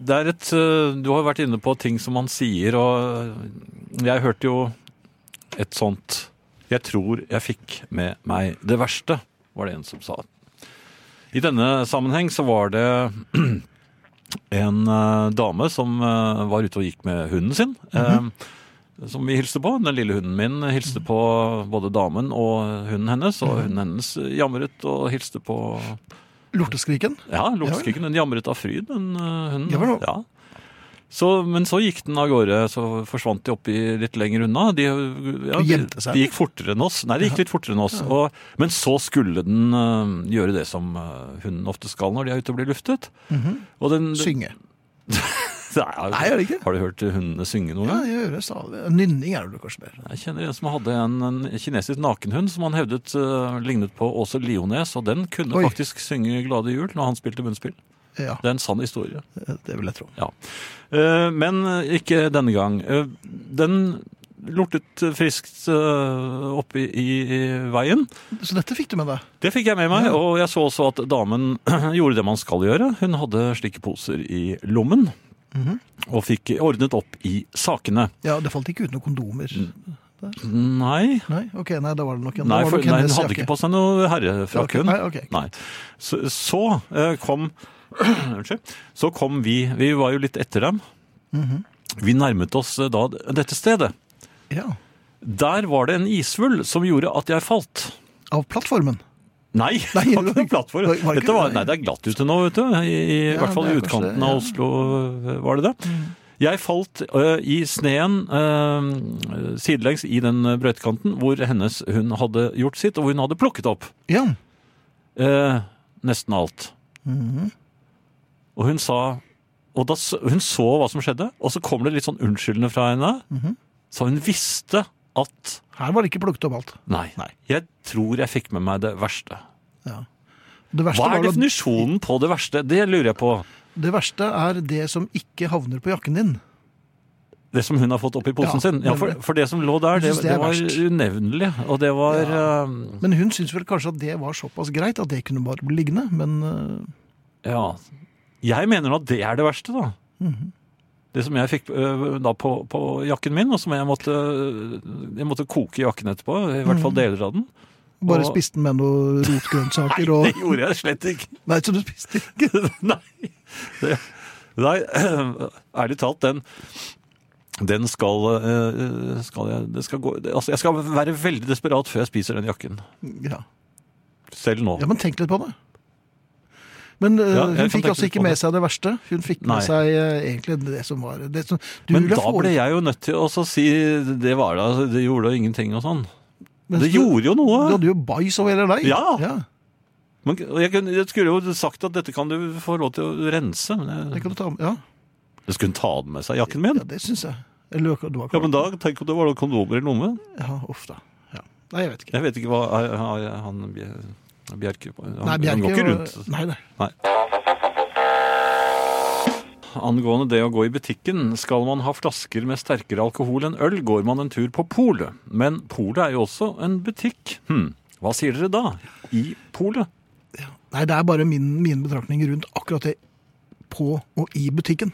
S3: Det er et øh, Du har vært inne på ting som man sier, og jeg hørte jo et sånt Jeg tror jeg fikk med meg det verste, var det en som sa. I denne sammenheng så var det *clears throat* en øh, dame som øh, var ute og gikk med hunden sin. eh, som vi hilste på. Den lille hunden min hilste på både damen og hunden hennes, og hunden hennes jamret og hilste på
S2: Lorteskriken.
S3: Ja, luktskriken. Den jamret av fryd, den eh, hunden.
S2: Ja vel.
S3: Ja. Så, men så gikk den av gårde, så forsvant de oppi litt lenger unna. De, ja,
S2: Og
S3: de,
S2: gjemte seg,
S3: de gikk fortere enn oss. Nei, de gikk litt fortere enn oss. Og, men så skulle den eh, gjøre det som eh, hunden ofte skal når de er ute og blir luftet. Og den,
S2: Mhm. Synge.
S3: *laughs* Nei,
S2: Nei, gjør det ikke?
S3: Har du hørt hundene synge noen
S2: Ja,
S3: gang?
S2: jeg gjør det stadig. Nynning er det vel kanskje mer.
S3: Jeg kjenner en som hadde en, en kinesisk nakenhund som han hevdet eh, lignet på Åse Liones, og den kunne
S2: Oi.
S3: faktisk synge Glade jul når han spilte munnspill.
S2: Ja,
S3: Det er en sann historie.
S2: det vil jeg tro.
S3: Ja. Eh, Men ikke denne gang. Eh, Den lortet friskt eh, oppe i, i veien.
S2: Så dette fikk du med deg.
S3: Det fikk jeg med meg, og jeg så også at damen *clears throat* gjorde det man skal gjøre. Hun hadde slike poser i lommen,
S2: Mhm.
S3: og fikk ordnet opp i sakene.
S2: Ja, det falt ikke ut noen kondomer.
S3: Nei,
S2: Nei, ok, nei, da var det nok en.
S3: Mm. Nei,
S2: da var
S3: for,
S2: det nok
S3: nei,
S2: hennes
S3: hun hadde
S2: jakke.
S3: ikke på seg noe
S2: Ok,
S3: herrefrakken.
S2: nei, ok.
S3: Nei. Så, så eh, kom *clears throat* Unnskyld. Så kom vi Vi var jo litt etter dem.
S2: Mhm.
S3: Vi nærmet oss eh, da dette stedet.
S2: Ja,
S3: Der var det en isvull som gjorde at jeg falt.
S2: Av plattformen. *laughs*
S3: Nei,
S2: Nei,
S3: det var ikke en
S2: var-
S3: plattform.
S2: var det ikke
S3: Dette var,
S2: det?
S3: nei, det er glatt ute nå, vet du. I, i
S2: Ja,
S3: hvert fall i
S2: det er kanskje
S3: utkanten
S2: det, ja. Mm.
S3: av Oslo øh, var det det. Jeg falt øh, i sneen øh, sidelengs i den øh, brøytekanten hvor hennes hund hadde gjort sitt, og hvor hun hadde plukket opp
S2: Ja.
S3: øh, nesten alt.
S2: Mhm.
S3: Og hun sa Og da s- hun så hva som skjedde, og så kommer det litt sånn unnskyldende fra henne.
S2: Mhm.
S3: Så hun visste at
S2: Her var det ikke plukket opp alt.
S3: Nei, jeg tror jeg fikk med meg det verste.
S2: Det verste,
S3: Hva er
S2: var jo-
S3: definisjonen på det verste? Det lurer jeg på.
S2: det verste er det som ikke havner på jakken din.
S3: Det som hun har fått oppi posen
S2: Ja,
S3: sin. Ja, for,
S2: nemlig.
S3: for det som lå der, det,
S2: Jeg synes det
S3: det
S2: er
S3: var
S2: verst.
S3: unevnelig. Og det var eh,
S2: Men hun syntes vel kanskje at det var såpass greit at det kunne bare bli liggende. Men eh,
S3: Ja. Jeg mener nå at det er det verste, da.
S2: Mhm.
S3: Det som jeg fikk eh, da på, på jakken min, og som jeg måtte, jeg måtte koke jakken etterpå. I hvert fall deler av den.
S2: Mhm. bare
S3: Og-
S2: spiste den med noen rotgrønnsaker og
S3: *laughs* Det gjorde jeg slett ikke.
S2: Nei, så du spiste ikke.
S3: *laughs* Nei. Det, nei, *clears throat* ærlig talt, den den skal, eh, skal jeg, det skal gå, det, altså jeg skal være veldig desperat før jeg spiser den jakken.
S2: Ja.
S3: Selv nå.
S2: ja, men tenk litt på det. Men eh,
S3: Ja, jeg kan
S2: hun fikk
S3: tenke
S2: altså
S3: litt
S2: ikke
S3: på
S2: med
S3: det.
S2: seg det verste. Hun fikk
S3: Nei.
S2: med seg eh, egentlig det som var det som, du
S3: Men
S2: ville
S3: da
S2: få-
S3: ble jeg jo nødt til å også si det var da, altså, det gjorde da ingenting og sånn.
S2: Mens
S3: Det
S2: du-
S3: gjorde jo
S2: Du
S3: noe!
S2: hadde jo bajs over hele deg.
S3: Ja.
S2: ja.
S3: Men jeg, kunne, jeg skulle jo sagt at dette kan du få lov til å rense. Men
S2: Det
S3: jeg,
S2: kan du ta med. Ja,
S3: jeg skulle hun ta den med seg, jakken min?
S2: ja det syns jeg. Eller, du var
S3: Ja, men da, tenk om det var noen kondomer i lommen.
S2: ja, uff da. Ja. Nei, jeg vet ikke.
S3: Jeg vet ikke hva er- er han Bjer- Bjerke Han,
S2: Nei, Bjerke
S3: han går ikke
S2: var-
S3: rundt.
S2: Nei, nei.
S3: Angående det å gå i butikken, skal man ha flasker med sterkere alkohol enn øl, går man en tur på polet. Men polet er jo også en butikk. Hm, hva sier dere da? I polet?
S2: Nei, det er bare min, mine betraktninger rundt akkurat det på og i butikken.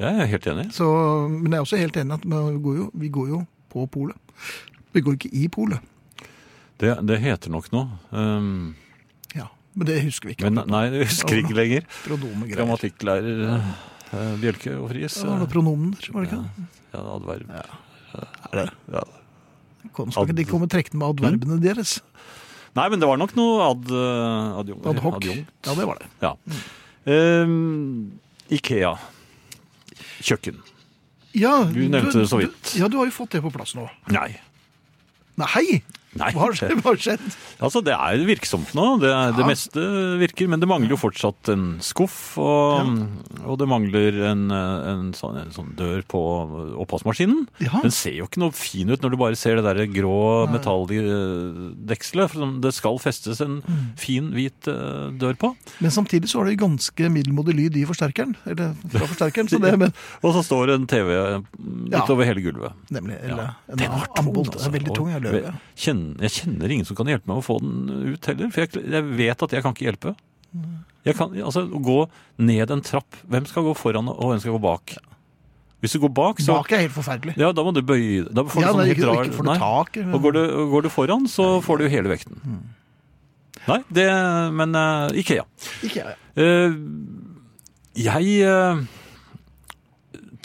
S3: Jeg er helt enig.
S2: Så, men jeg er også helt enig i at man går jo, vi går jo på polet. Det går ikke i polet.
S3: Det, det heter nok noe. Um,
S2: Ja, men det husker vi ikke.
S3: men nei, jeg husker ikke lenger.
S2: Pronomegreier.
S3: Grammatikklærer eh, Bjelke og Friis. eh,
S2: Det var noen pronomener, var det ikke? det?
S3: ja, adverb. Ja.
S2: Kom, skal ikke de komme trekkende med adverbene
S3: Hm?
S2: deres?
S3: Nei, men det var nok noe ad, eh, adjung.
S2: Ad hoc. Mm. Ja, det var det.
S3: Ja. Ehm, Ikea. Kjøkken.
S2: Ja,
S3: Du nevnte det så vidt.
S2: du- Ja, du har jo fått det på plass nå.
S3: Nei.
S2: Nei!
S3: Nei.
S2: *laughs* Hva har skjedd? Hva har skjedd?
S3: *laughs* Altså, det er virksomt nå. Det, er, det
S2: Ja.
S3: meste virker, men det mangler jo fortsatt en skuff, og, og det mangler en, en, sånn, en sånn dør på oppvaskmaskinen.
S2: Ja.
S3: Den ser jo ikke noe fin ut når du bare ser det der grå metalldekselet. for sånn, Det skal festes en
S2: Mm.
S3: fin, hvit eh, dør på.
S2: Men samtidig så har det jo ganske middelmådig lyd i forsterkeren. Eller fra forsterkeren, så det men,
S3: Og så står det en TV
S2: Ja.
S3: utover hele gulvet.
S2: Nemlig. Eller en
S3: Den var tung,
S2: ambolt. Det
S3: altså.
S2: er veldig tung. Jeg
S3: Og
S2: løper.
S3: jeg kjenner, jeg kjenner ingen som kan hjelpe meg å få den ut heller, for jeg, jeg vet at jeg kan ikke hjelpe. Jeg kan, altså, å gå ned en trapp, hvem skal gå foran og hvem skal gå bak? Hvis du går bak, så...
S2: Bak er helt forferdelig.
S3: Ja, da må du bøye deg. Da får du
S2: Ja,
S3: sånn
S2: nei,
S3: helt
S2: ikke,
S3: rar-
S2: ikke får du
S3: nei.
S2: tak. eller-
S3: Og går du, går du foran, så får du jo hele vekten.
S2: Mm.
S3: Nei, det, men eh, Ikea.
S2: Ikke jeg.
S3: Eh, jeg eh,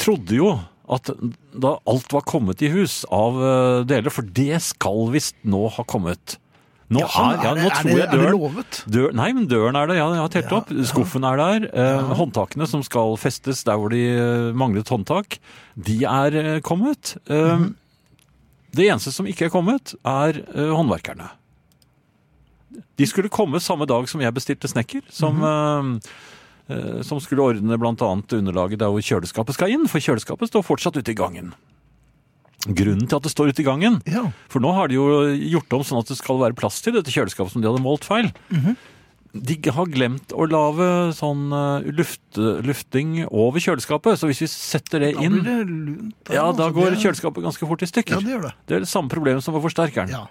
S3: trodde jo at da alt var kommet i hus av eh, deler, for det skal visst nå ha kommet. Nå er, ja,
S2: det-
S3: nå tror jeg
S2: det, sånn er det
S3: døren
S2: lovet?
S3: Dør, nei, men døren er der, ja, jeg har telt
S2: Ja,
S3: opp. Skuffen er der. Eh, håndtakene som skal festes der hvor de eh, manglet håndtak, de er eh, kommet. Eh, Det eneste som ikke er kommet, er eh, håndverkerne. De skulle komme samme dag som jeg bestilte snekker, som, eh, eh, som skulle ordne bl.a. underlaget der hvor kjøleskapet skal inn, for kjøleskapet står fortsatt ute i gangen. Grunnen til at det står ute i gangen,
S2: Ja.
S3: for nå har de jo gjort om sånn at det skal være plass til dette kjøleskapet som de hadde målt feil. De har glemt å lage sånn eh, luft, lufting over kjøleskapet, så hvis vi setter det
S2: Da
S3: inn,
S2: blir det lunt. der,
S3: ja, da
S2: altså,
S3: går
S2: det-
S3: kjøleskapet ganske fort i
S2: Ja,
S3: stykker.
S2: det gjør det.
S3: det er det samme problemet som var forsterkeren.
S2: Ja.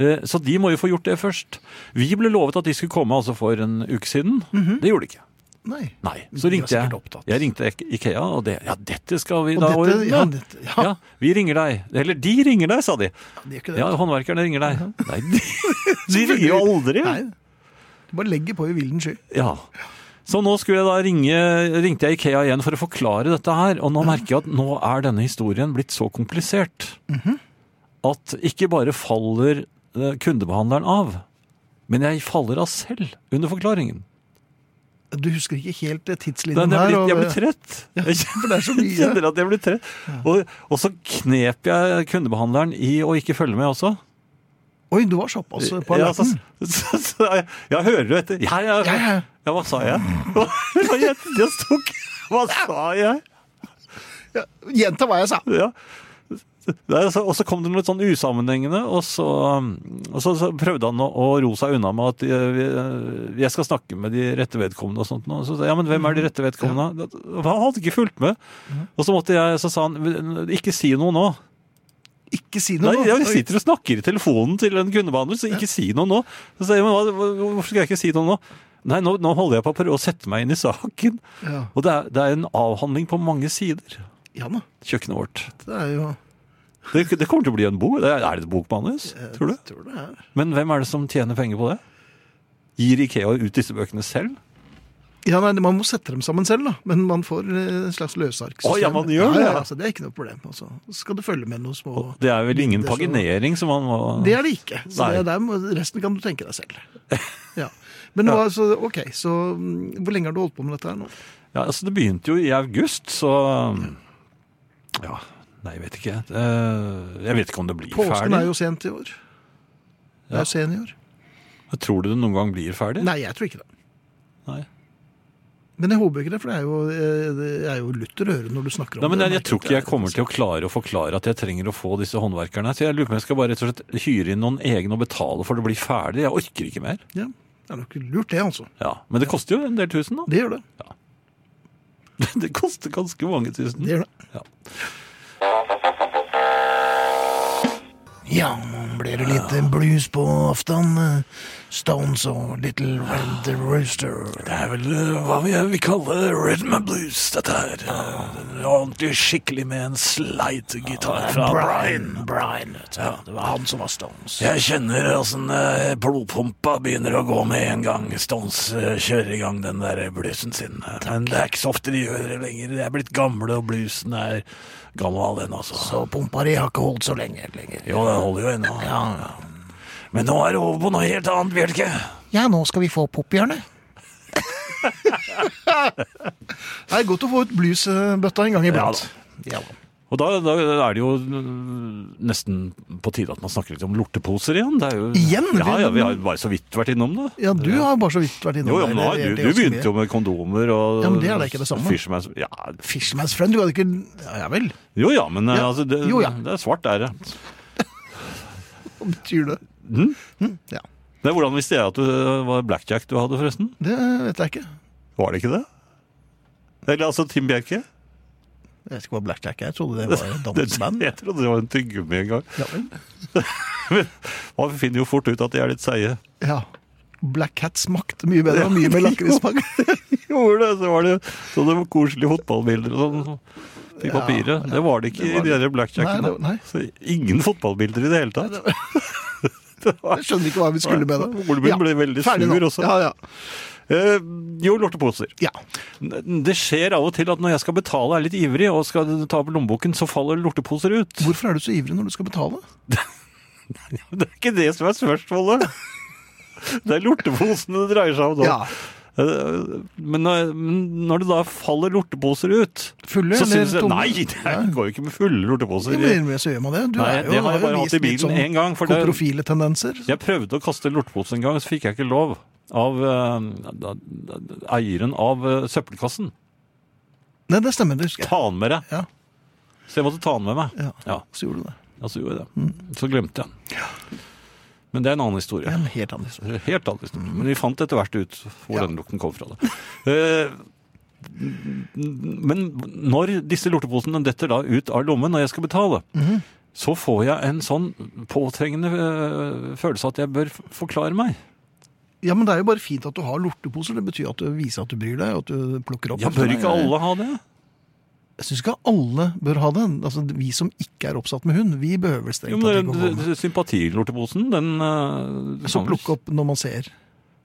S3: Eh, Så de må jo få gjort det først. Vi ble lovet at de skulle komme altså for en uke siden. Det gjorde de ikke.
S2: Nei.
S3: Nei,
S2: Mhm. De
S3: så
S2: er
S3: ringte jeg.
S2: sikkert opptatt.
S3: Jeg ringte Ike- Ikea, og det, ja, dette skal vi
S2: Og
S3: da
S2: dette,
S3: ordne.
S2: ja, dette, ja,
S3: ja, vi ringer deg. Eller de ringer deg, sa de.
S2: det gjør ikke det.
S3: Ja, håndverkerne ringer deg. Nei, de, de ringer jo aldri.
S2: Mhm. Nei. Du bare legger på i vilden sky.
S3: Ja. Så nå skulle jeg da ringe, ringte jeg Ikea igjen for å forklare dette her, og nå
S2: Mhm.
S3: merker jeg at nå er denne historien blitt så komplisert
S2: Mhm.
S3: at ikke bare faller eh, kundebehandleren av, men jeg faller av selv under forklaringen.
S2: Du husker ikke helt eh,
S3: Nei,
S2: tidslinjen
S3: jeg,
S2: her.
S3: blir, jeg
S2: og-
S3: blir trett. Jeg
S2: For det er så mye.
S3: kjenner at jeg blir trett. Og, og så knep jeg kundebehandleren i å ikke følge med også.
S2: Oi, du var såpass eh, på
S3: Ja, altså- så,
S2: alerten.
S3: så, så, jeg, jeg hører jo etter. Ja, ja, ja.
S2: Ja, ja.
S3: ja, hva sa jeg? *laughs* Hva, hva, jeg, jeg sto ikke- hva sa jeg?
S2: Ja, Gjenta hva jeg sa.
S3: Ja. Nei, altså, og så kom det noe litt sånn usammenhengende, og så, og så, så prøvde han å, å ro seg unna med at eh, vi- jeg skal snakke med de rette vedkommende og sånt. nå. Så, sa jeg, ja, men hvem er de rette vedkommende? Han hadde ikke fulgt med. Og så, måtte jeg, så sa han ikke si noe nå.
S2: Ikke si noe. nå.
S3: Nei, jeg
S2: Oi.
S3: sitter og snakker i telefonen til en kundebehandler, så ikke si noe nå. Så sier jeg, men hva, hva- hvorfor skal jeg ikke si noe nå? Nei, nå, nå holder jeg på å prøve å sette meg inn i saken.
S2: Ja.
S3: Og det er, det er en avhandling på mange sider,
S2: Ja da,
S3: kjøkkenet vårt.
S2: det er jo
S3: Det, det kommer til å bli en bok. Det Er er det et bokmanus, tror du?
S2: Jeg tror det er.
S3: Men hvem er det som tjener penger på det? Gir Ikea ut disse bøkene selv?
S2: Ja, nei, Man må sette dem sammen selv, da. men man får eh, et slags løsarksystem.
S3: Å, ja, man gjør det,
S2: Ja,
S3: ja.
S2: altså, det er ikke noe problem. Altså. Så skal du følge med noen små
S3: Det er vel ingen
S2: Det er så-
S3: paginering som man må
S2: Det er det ikke. Så
S3: Nei.
S2: det er der, må- resten kan du tenke deg selv. Ja. Men
S3: *laughs*
S2: nå, altså, ok, så mm, hvor lenge har du holdt på med dette her nå?
S3: Ja, altså, det begynte jo i august, så Ja. Nei, jeg vet ikke. Eh, Jeg vet ikke om det blir
S2: Påsken
S3: ferdig.
S2: er jo sent i år. Det er jo sen i år.
S3: Tror du det noen gang blir ferdig?
S2: Nei, jeg tror ikke det.
S3: Nei.
S2: Men jeg håper ikke det, for det er jo, eh, det er jo lutter øre når du snakker om
S3: Nei, men
S2: det.
S3: jeg, jeg tror ikke jeg kommer til å klare å forklare at jeg trenger å få disse håndverkerne. Så jeg lurer på om jeg skal bare rett og slett hyre inn noen egne og betale for det blir ferdig. Jeg orker ikke mer.
S2: Ja, det er nok lurt det, altså.
S3: Ja, Men det koster jo en del tusen, da.
S2: Det gjør det.
S3: *laughs* Det koster ganske mange tusen.
S2: Det gjør det.
S3: Ja.
S2: Ja, man blir det litt eh, blues på aften. eh, Stones og Little Red the Rooster.
S5: Det er vel eh, hva vi, vi kaller rhythm and blues, dette her. Eh, Ordentlig skikkelig med en slide-gitar fra Brian.
S2: Brian, vet du. Det var han som var Stones.
S5: Jeg kjenner åssen eh, blodpumpa begynner å gå med en gang Stones eh, kjører i gang den der bluesen sin. Men det er ikke så ofte de gjør det lenger. De er blitt gamle, og bluesen er gammel den altså.
S2: Så pumpa di har ikke holdt så lenge lenger.
S5: Jo, den holder jo ennå. Men nå er det over på noe helt annet, Bjelke.
S2: Ja, nå skal vi få *laughs* pophjørnet. det er godt å få ut bluesbøtta en gang iblant. Ja, da.
S3: Og da, da er det jo øh, nesten på tide at man snakker litt om lorteposer igjen. Det er jo,
S2: Igjen?
S3: Ja, ja, vi har jo bare så vidt vært innom det.
S2: ja, du har bare så vidt vært innom
S3: Jo, ja, men
S2: det.
S3: nå,
S2: Det er
S3: du,
S2: egentlig
S3: du
S2: ganske mye.
S3: begynte jo med kondomer og
S2: Ja, men det er da ikke det samme.
S3: Fisherman's, ja,
S2: Fisherman's Friend, du hadde ikke Ja, ja vel.
S3: jo ja, men eh,
S2: Ja.
S3: Altså, det,
S2: Jo, ja.
S3: det er svart der, ja.
S2: Hva betyr det?
S3: Mhm.
S2: Mhm, Ja.
S3: Det er Hvordan visste jeg at det var blackjack du hadde, forresten?
S2: Det vet jeg ikke.
S3: Var det ikke det? Eller altså Tim Bjerke?
S2: Jeg vet ikke hva blackjack er. Jeg trodde det var
S3: *laughs*
S2: et
S3: Det,
S2: danseband.
S3: jeg trodde det var en tyggegummi en gang.
S2: Ja vel.
S3: Man finner jo fort ut at de er litt *laughs* seige.
S2: Ja. Black Hat smakte mye bedre og mye mer *laughs* lakrismak.
S3: Gjorde det, så var det så det var koselige fotballbilder og sånn. I papiret. det var det ikke
S2: det var
S3: i de
S2: det.
S3: der blackjackene.
S2: Nei, det- nei.
S3: Så Ingen fotballbilder i det
S2: *laughs*
S3: hele tatt.
S2: Jeg skjønner ikke hva vi skulle med det.
S3: Olmen ble veldig
S2: ferdig nå.
S3: sur også.
S2: Ja, ja.
S3: Eh, jo, lorteposer.
S2: ja.
S3: Det skjer av og til at når jeg skal betale, er litt ivrig og skal ta opp lommeboken, så faller lorteposer ut.
S2: Hvorfor er du så ivrig når du skal betale?
S3: Det er ikke det som er spørsmålet. Det er lorteposene det dreier seg om nå.
S2: Ja.
S3: Eh, Men når- men når det da faller lorteposer ut
S2: Fulle
S3: så
S2: eller
S3: synes jeg,
S2: tomme?
S3: Nei, det er- går jo ikke med fulle lorteposer.
S2: Jo, men innimellom så gjør man det. Du
S3: Nei,
S2: er jo,
S3: det har jeg
S2: jo
S3: bare hatt i
S2: vist litt
S3: bilen
S2: sånn
S3: en gang, for det-
S2: Koprofile tendenser.
S3: Jeg prøvde å kaste lortepose en gang, så fikk jeg ikke lov av eh, da- da- eieren av eh, søppelkassen.
S2: Nei, det stemmer, det husker jeg.
S3: Ta den med deg.
S2: Ja.
S3: Så jeg måtte ta den med meg.
S2: Ja.
S3: Ja,
S2: Så gjorde du det.
S3: ja så gjorde jeg
S2: Mm.
S3: det. Så glemte jeg den. Men det er en annen historie.
S2: Det er en helt annen historie.
S3: Helt annen historie. Men vi fant etter hvert ut hvor
S2: Ja.
S3: den lukten kom fra. Det. Eh, Men når disse lorteposene detter da ut av lommen når jeg skal betale, så får jeg en sånn påtrengende eh, følelse at jeg bør f- forklare meg.
S2: Ja, men det er jo bare fint at du har lorteposer. Det betyr at du viser at du bryr deg, og at du plukker opp.
S3: Ja, bør ikke alle ha det?
S2: Jeg syns ikke alle bør ha det. Altså, vi som ikke er oppsatt med hund, vi behøver
S3: Jo,
S2: strengt tatt
S3: men
S2: ikke å gå med.
S3: det- Sympatilorteposen, den eh,
S2: Så
S3: kan vel-
S2: plukke opp når man ser.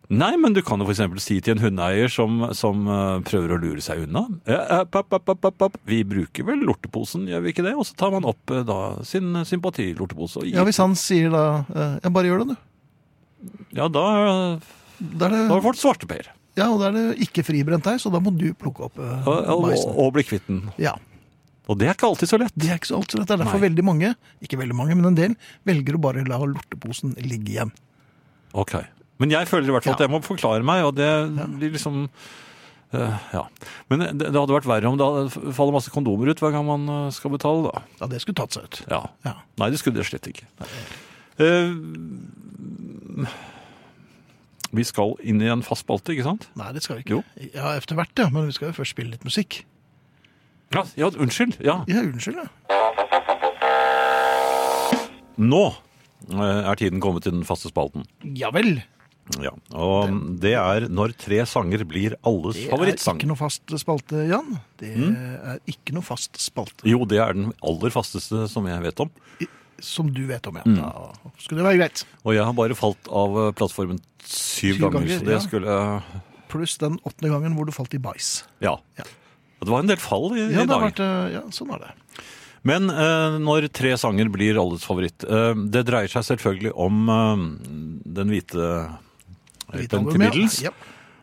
S3: Nei, men du kan jo f.eks. si til en hundeeier som, som eh, prøver å lure seg unna ja, eh, papp, papp, papp, papp, papp. Vi bruker vel lorteposen, gjør vi ikke det? Og så tar man opp eh, da sin eh, sympatilortepose. og gir-
S2: Ja, hvis han sier da eh, Ja, bare gjør det, du.
S3: ja, da, eh,
S2: Da er
S3: da har
S2: det,
S3: du fått svarteper.
S2: ja, og da er det ikke fribrent der, så da må du plukke opp eh,
S3: Og, og,
S2: maisen.
S3: og blir kvitt den.
S2: Ja.
S3: Og det er ikke alltid så lett.
S2: Det er ikke så alt så lett. Det er derfor
S3: Nei.
S2: veldig mange, ikke veldig mange, men en del, velger å bare la lorteposen ligge igjen.
S3: Ok. Men jeg føler i hvert fall at
S2: Ja.
S3: jeg må forklare meg, og det blir liksom eh, ja. Men det, det hadde vært verre om det hadde- faller masse kondomer ut hver gang man eh, skal betale, da.
S2: Ja, det skulle tatt seg ut.
S3: Ja.
S2: Ja.
S3: Nei, det skulle det slett ikke. Eh, vi skal inn i en fast spalte, ikke sant?
S2: Nei, det skal vi ikke.
S3: Jo.
S2: Ja, etter hvert, ja. Men vi skal jo først spille litt musikk.
S3: Ja, ja unnskyld. Ja.
S2: Ja, unnskyld, ja.
S3: Nå eh, er tiden kommet til den faste spalten.
S2: Ja vel.
S3: Ja, Og det er når tre sanger blir alles
S2: Det er
S3: favorittsang.
S2: ikke noe fast spalte, Jan. Det
S3: Mm.
S2: er ikke noe fast spalte,
S3: Jo, det er den aller fasteste som jeg vet om.
S2: som du vet om,
S3: Mm.
S2: ja. Da skulle det være greit.
S3: Og jeg har bare falt av eh, plattformen syv,
S2: Syv
S3: ganger,
S2: ganger,
S3: så det
S2: ja.
S3: skulle eh,
S2: Pluss den åttende gangen hvor du falt i bæsj.
S3: Ja.
S2: Ja.
S3: Det var en del fall i,
S2: Ja,
S3: i
S2: det har
S3: dag.
S2: vært, eh, ja, sånn er det.
S3: Men eh, når tre sanger blir alles favoritt eh, Det dreier seg selvfølgelig om eh, den hvite
S2: Litt
S3: Elton
S2: over
S3: til
S2: med.
S3: middels.
S2: Ja.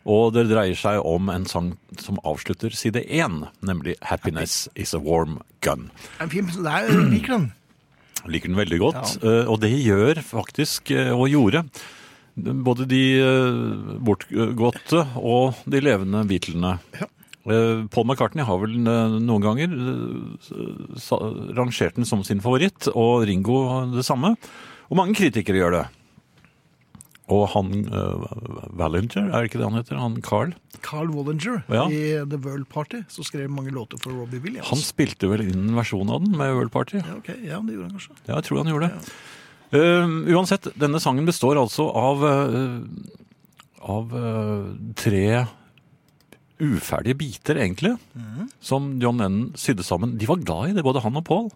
S3: Og det dreier seg om en sang som avslutter side én, nemlig 'Happiness Is A Warm Gun'.
S2: En fin, det er, *clears throat* jeg liker den.
S3: Jeg liker den veldig godt, eh, og det gjør faktisk, eh, og gjorde, både de eh, bortgåtte og de levende Beatlene.
S2: Ja.
S3: Eh, Paul McCartney har vel eh, noen ganger eh, sa- rangert den som sin favoritt, og Ringo det samme. Og mange kritikere gjør det. Og han eh, Valinger, er det ikke det han heter? Han Carl?
S2: Carl Wallinger
S3: Ja.
S2: i The World Party, som skrev mange låter for Robbie Williams.
S3: Han spilte vel inn en versjon av den med World Party?
S2: Ja, ok. Ja, det gjorde han kanskje.
S3: Ja, jeg tror han gjorde det. Eh, uansett, denne sangen består altså av, eh, av eh, tre uferdige biter, egentlig,
S2: Mhm.
S3: som John Lennon sydde sammen. De var glad i det, både han og Paul.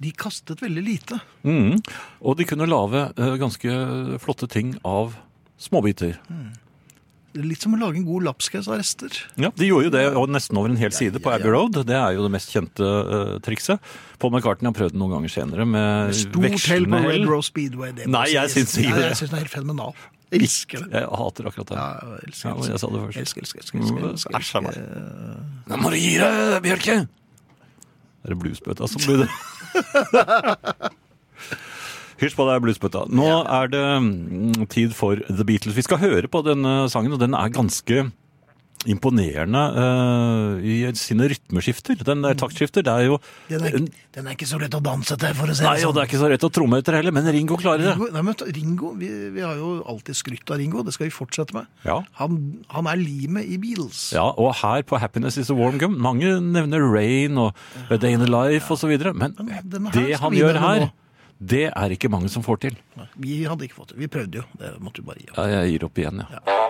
S2: De kastet veldig lite.
S3: Mhm. Og de kunne lage eh, ganske flotte ting av småbiter.
S2: Det er Litt som å lage en god lapskaus av rester.
S3: Ja, De gjorde jo det og nesten over en hel side på
S2: ja,
S3: Abbey Road. Det er jo det mest kjente eh, trikset. Paul McCartney har prøvd det noen ganger senere med
S2: Stort hell på
S3: vekslende
S2: Red
S3: hell.
S2: Rose Speedway. Det må
S3: Nei, jeg
S2: sies.
S3: syns ikke
S2: Nei,
S3: det.
S2: Jeg syns den er helt fenomenal. Jeg elsker det.
S3: Jeg hater akkurat det.
S2: Ja, jeg elsker,
S3: Ja, men jeg sa det først. Mm,
S2: elsker, elsker, elsker, elsker, elsker,
S3: Æsj a meg.
S2: elsker.
S5: Nå må du gi deg, Bjørke!
S3: Er det bluesbøtta som blir det? *laughs* Hysj på deg, bluesbøtta. Nå er det mm, tid for The Beatles. Vi skal høre på denne sangen, og den er ganske imponerende eh, i sine rytmeskifter. Den
S5: Mm.
S3: der taktskifter, det er jo
S2: Den er, ikke- den er ikke så lett å danse til, for å si
S3: Nei,
S2: det sånn.
S3: og det er ikke så rett å tromme etter heller, men Ringo klarer det.
S2: Ringo, nei, men ta- Ringo vi, vi har jo alltid skrytt av Ringo, det skal vi fortsette med.
S3: Ja.
S2: Han, han er limet i Beatles.
S3: Ja, og her på Happiness is a Warm Gum, mange nevner Rain og A Day in the Life osv., men
S2: denne her
S3: det
S2: skal
S3: han
S2: vi
S3: gjør
S2: nevne
S3: her,
S2: nå.
S3: det er ikke mange som får til.
S2: Vi hadde ikke fått det. Vi prøvde jo, det måtte vi bare gi opp.
S3: Ja, jeg gir opp igjen, ja.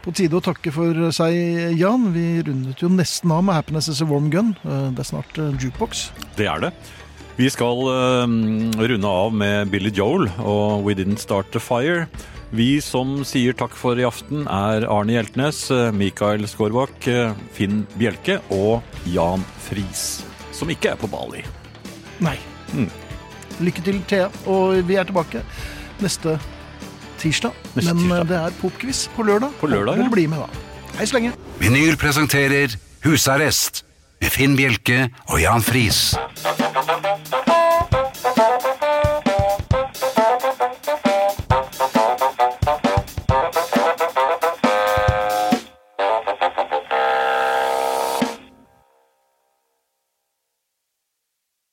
S2: På tide å takke for seg, Jan. Vi rundet jo nesten av med 'Happiness is a Warm Gun'. Eh, Det er snart eh, jukebox.
S3: Det er det. Vi skal eh, runde av med Billy Joel og We Didn't Start The Fire. Vi som sier takk for i aften, er Arne Hjeltnes, eh, Mikael Skårbakk, eh, Finn Bjelke og Jan Friis, som ikke er på Bali.
S2: Nei.
S3: Mm.
S2: Lykke til, Thea. Og vi er tilbake neste tirsdag.
S3: Neste
S2: Men eh,
S3: tirsdag.
S2: det er popquiz på lørdag.
S3: På lørdag,
S2: Håper
S3: ja.
S2: dere blir med da. Hei så lenge.
S1: Vinyl presenterer Husarrest med Finn Bjelke og Jan Friis.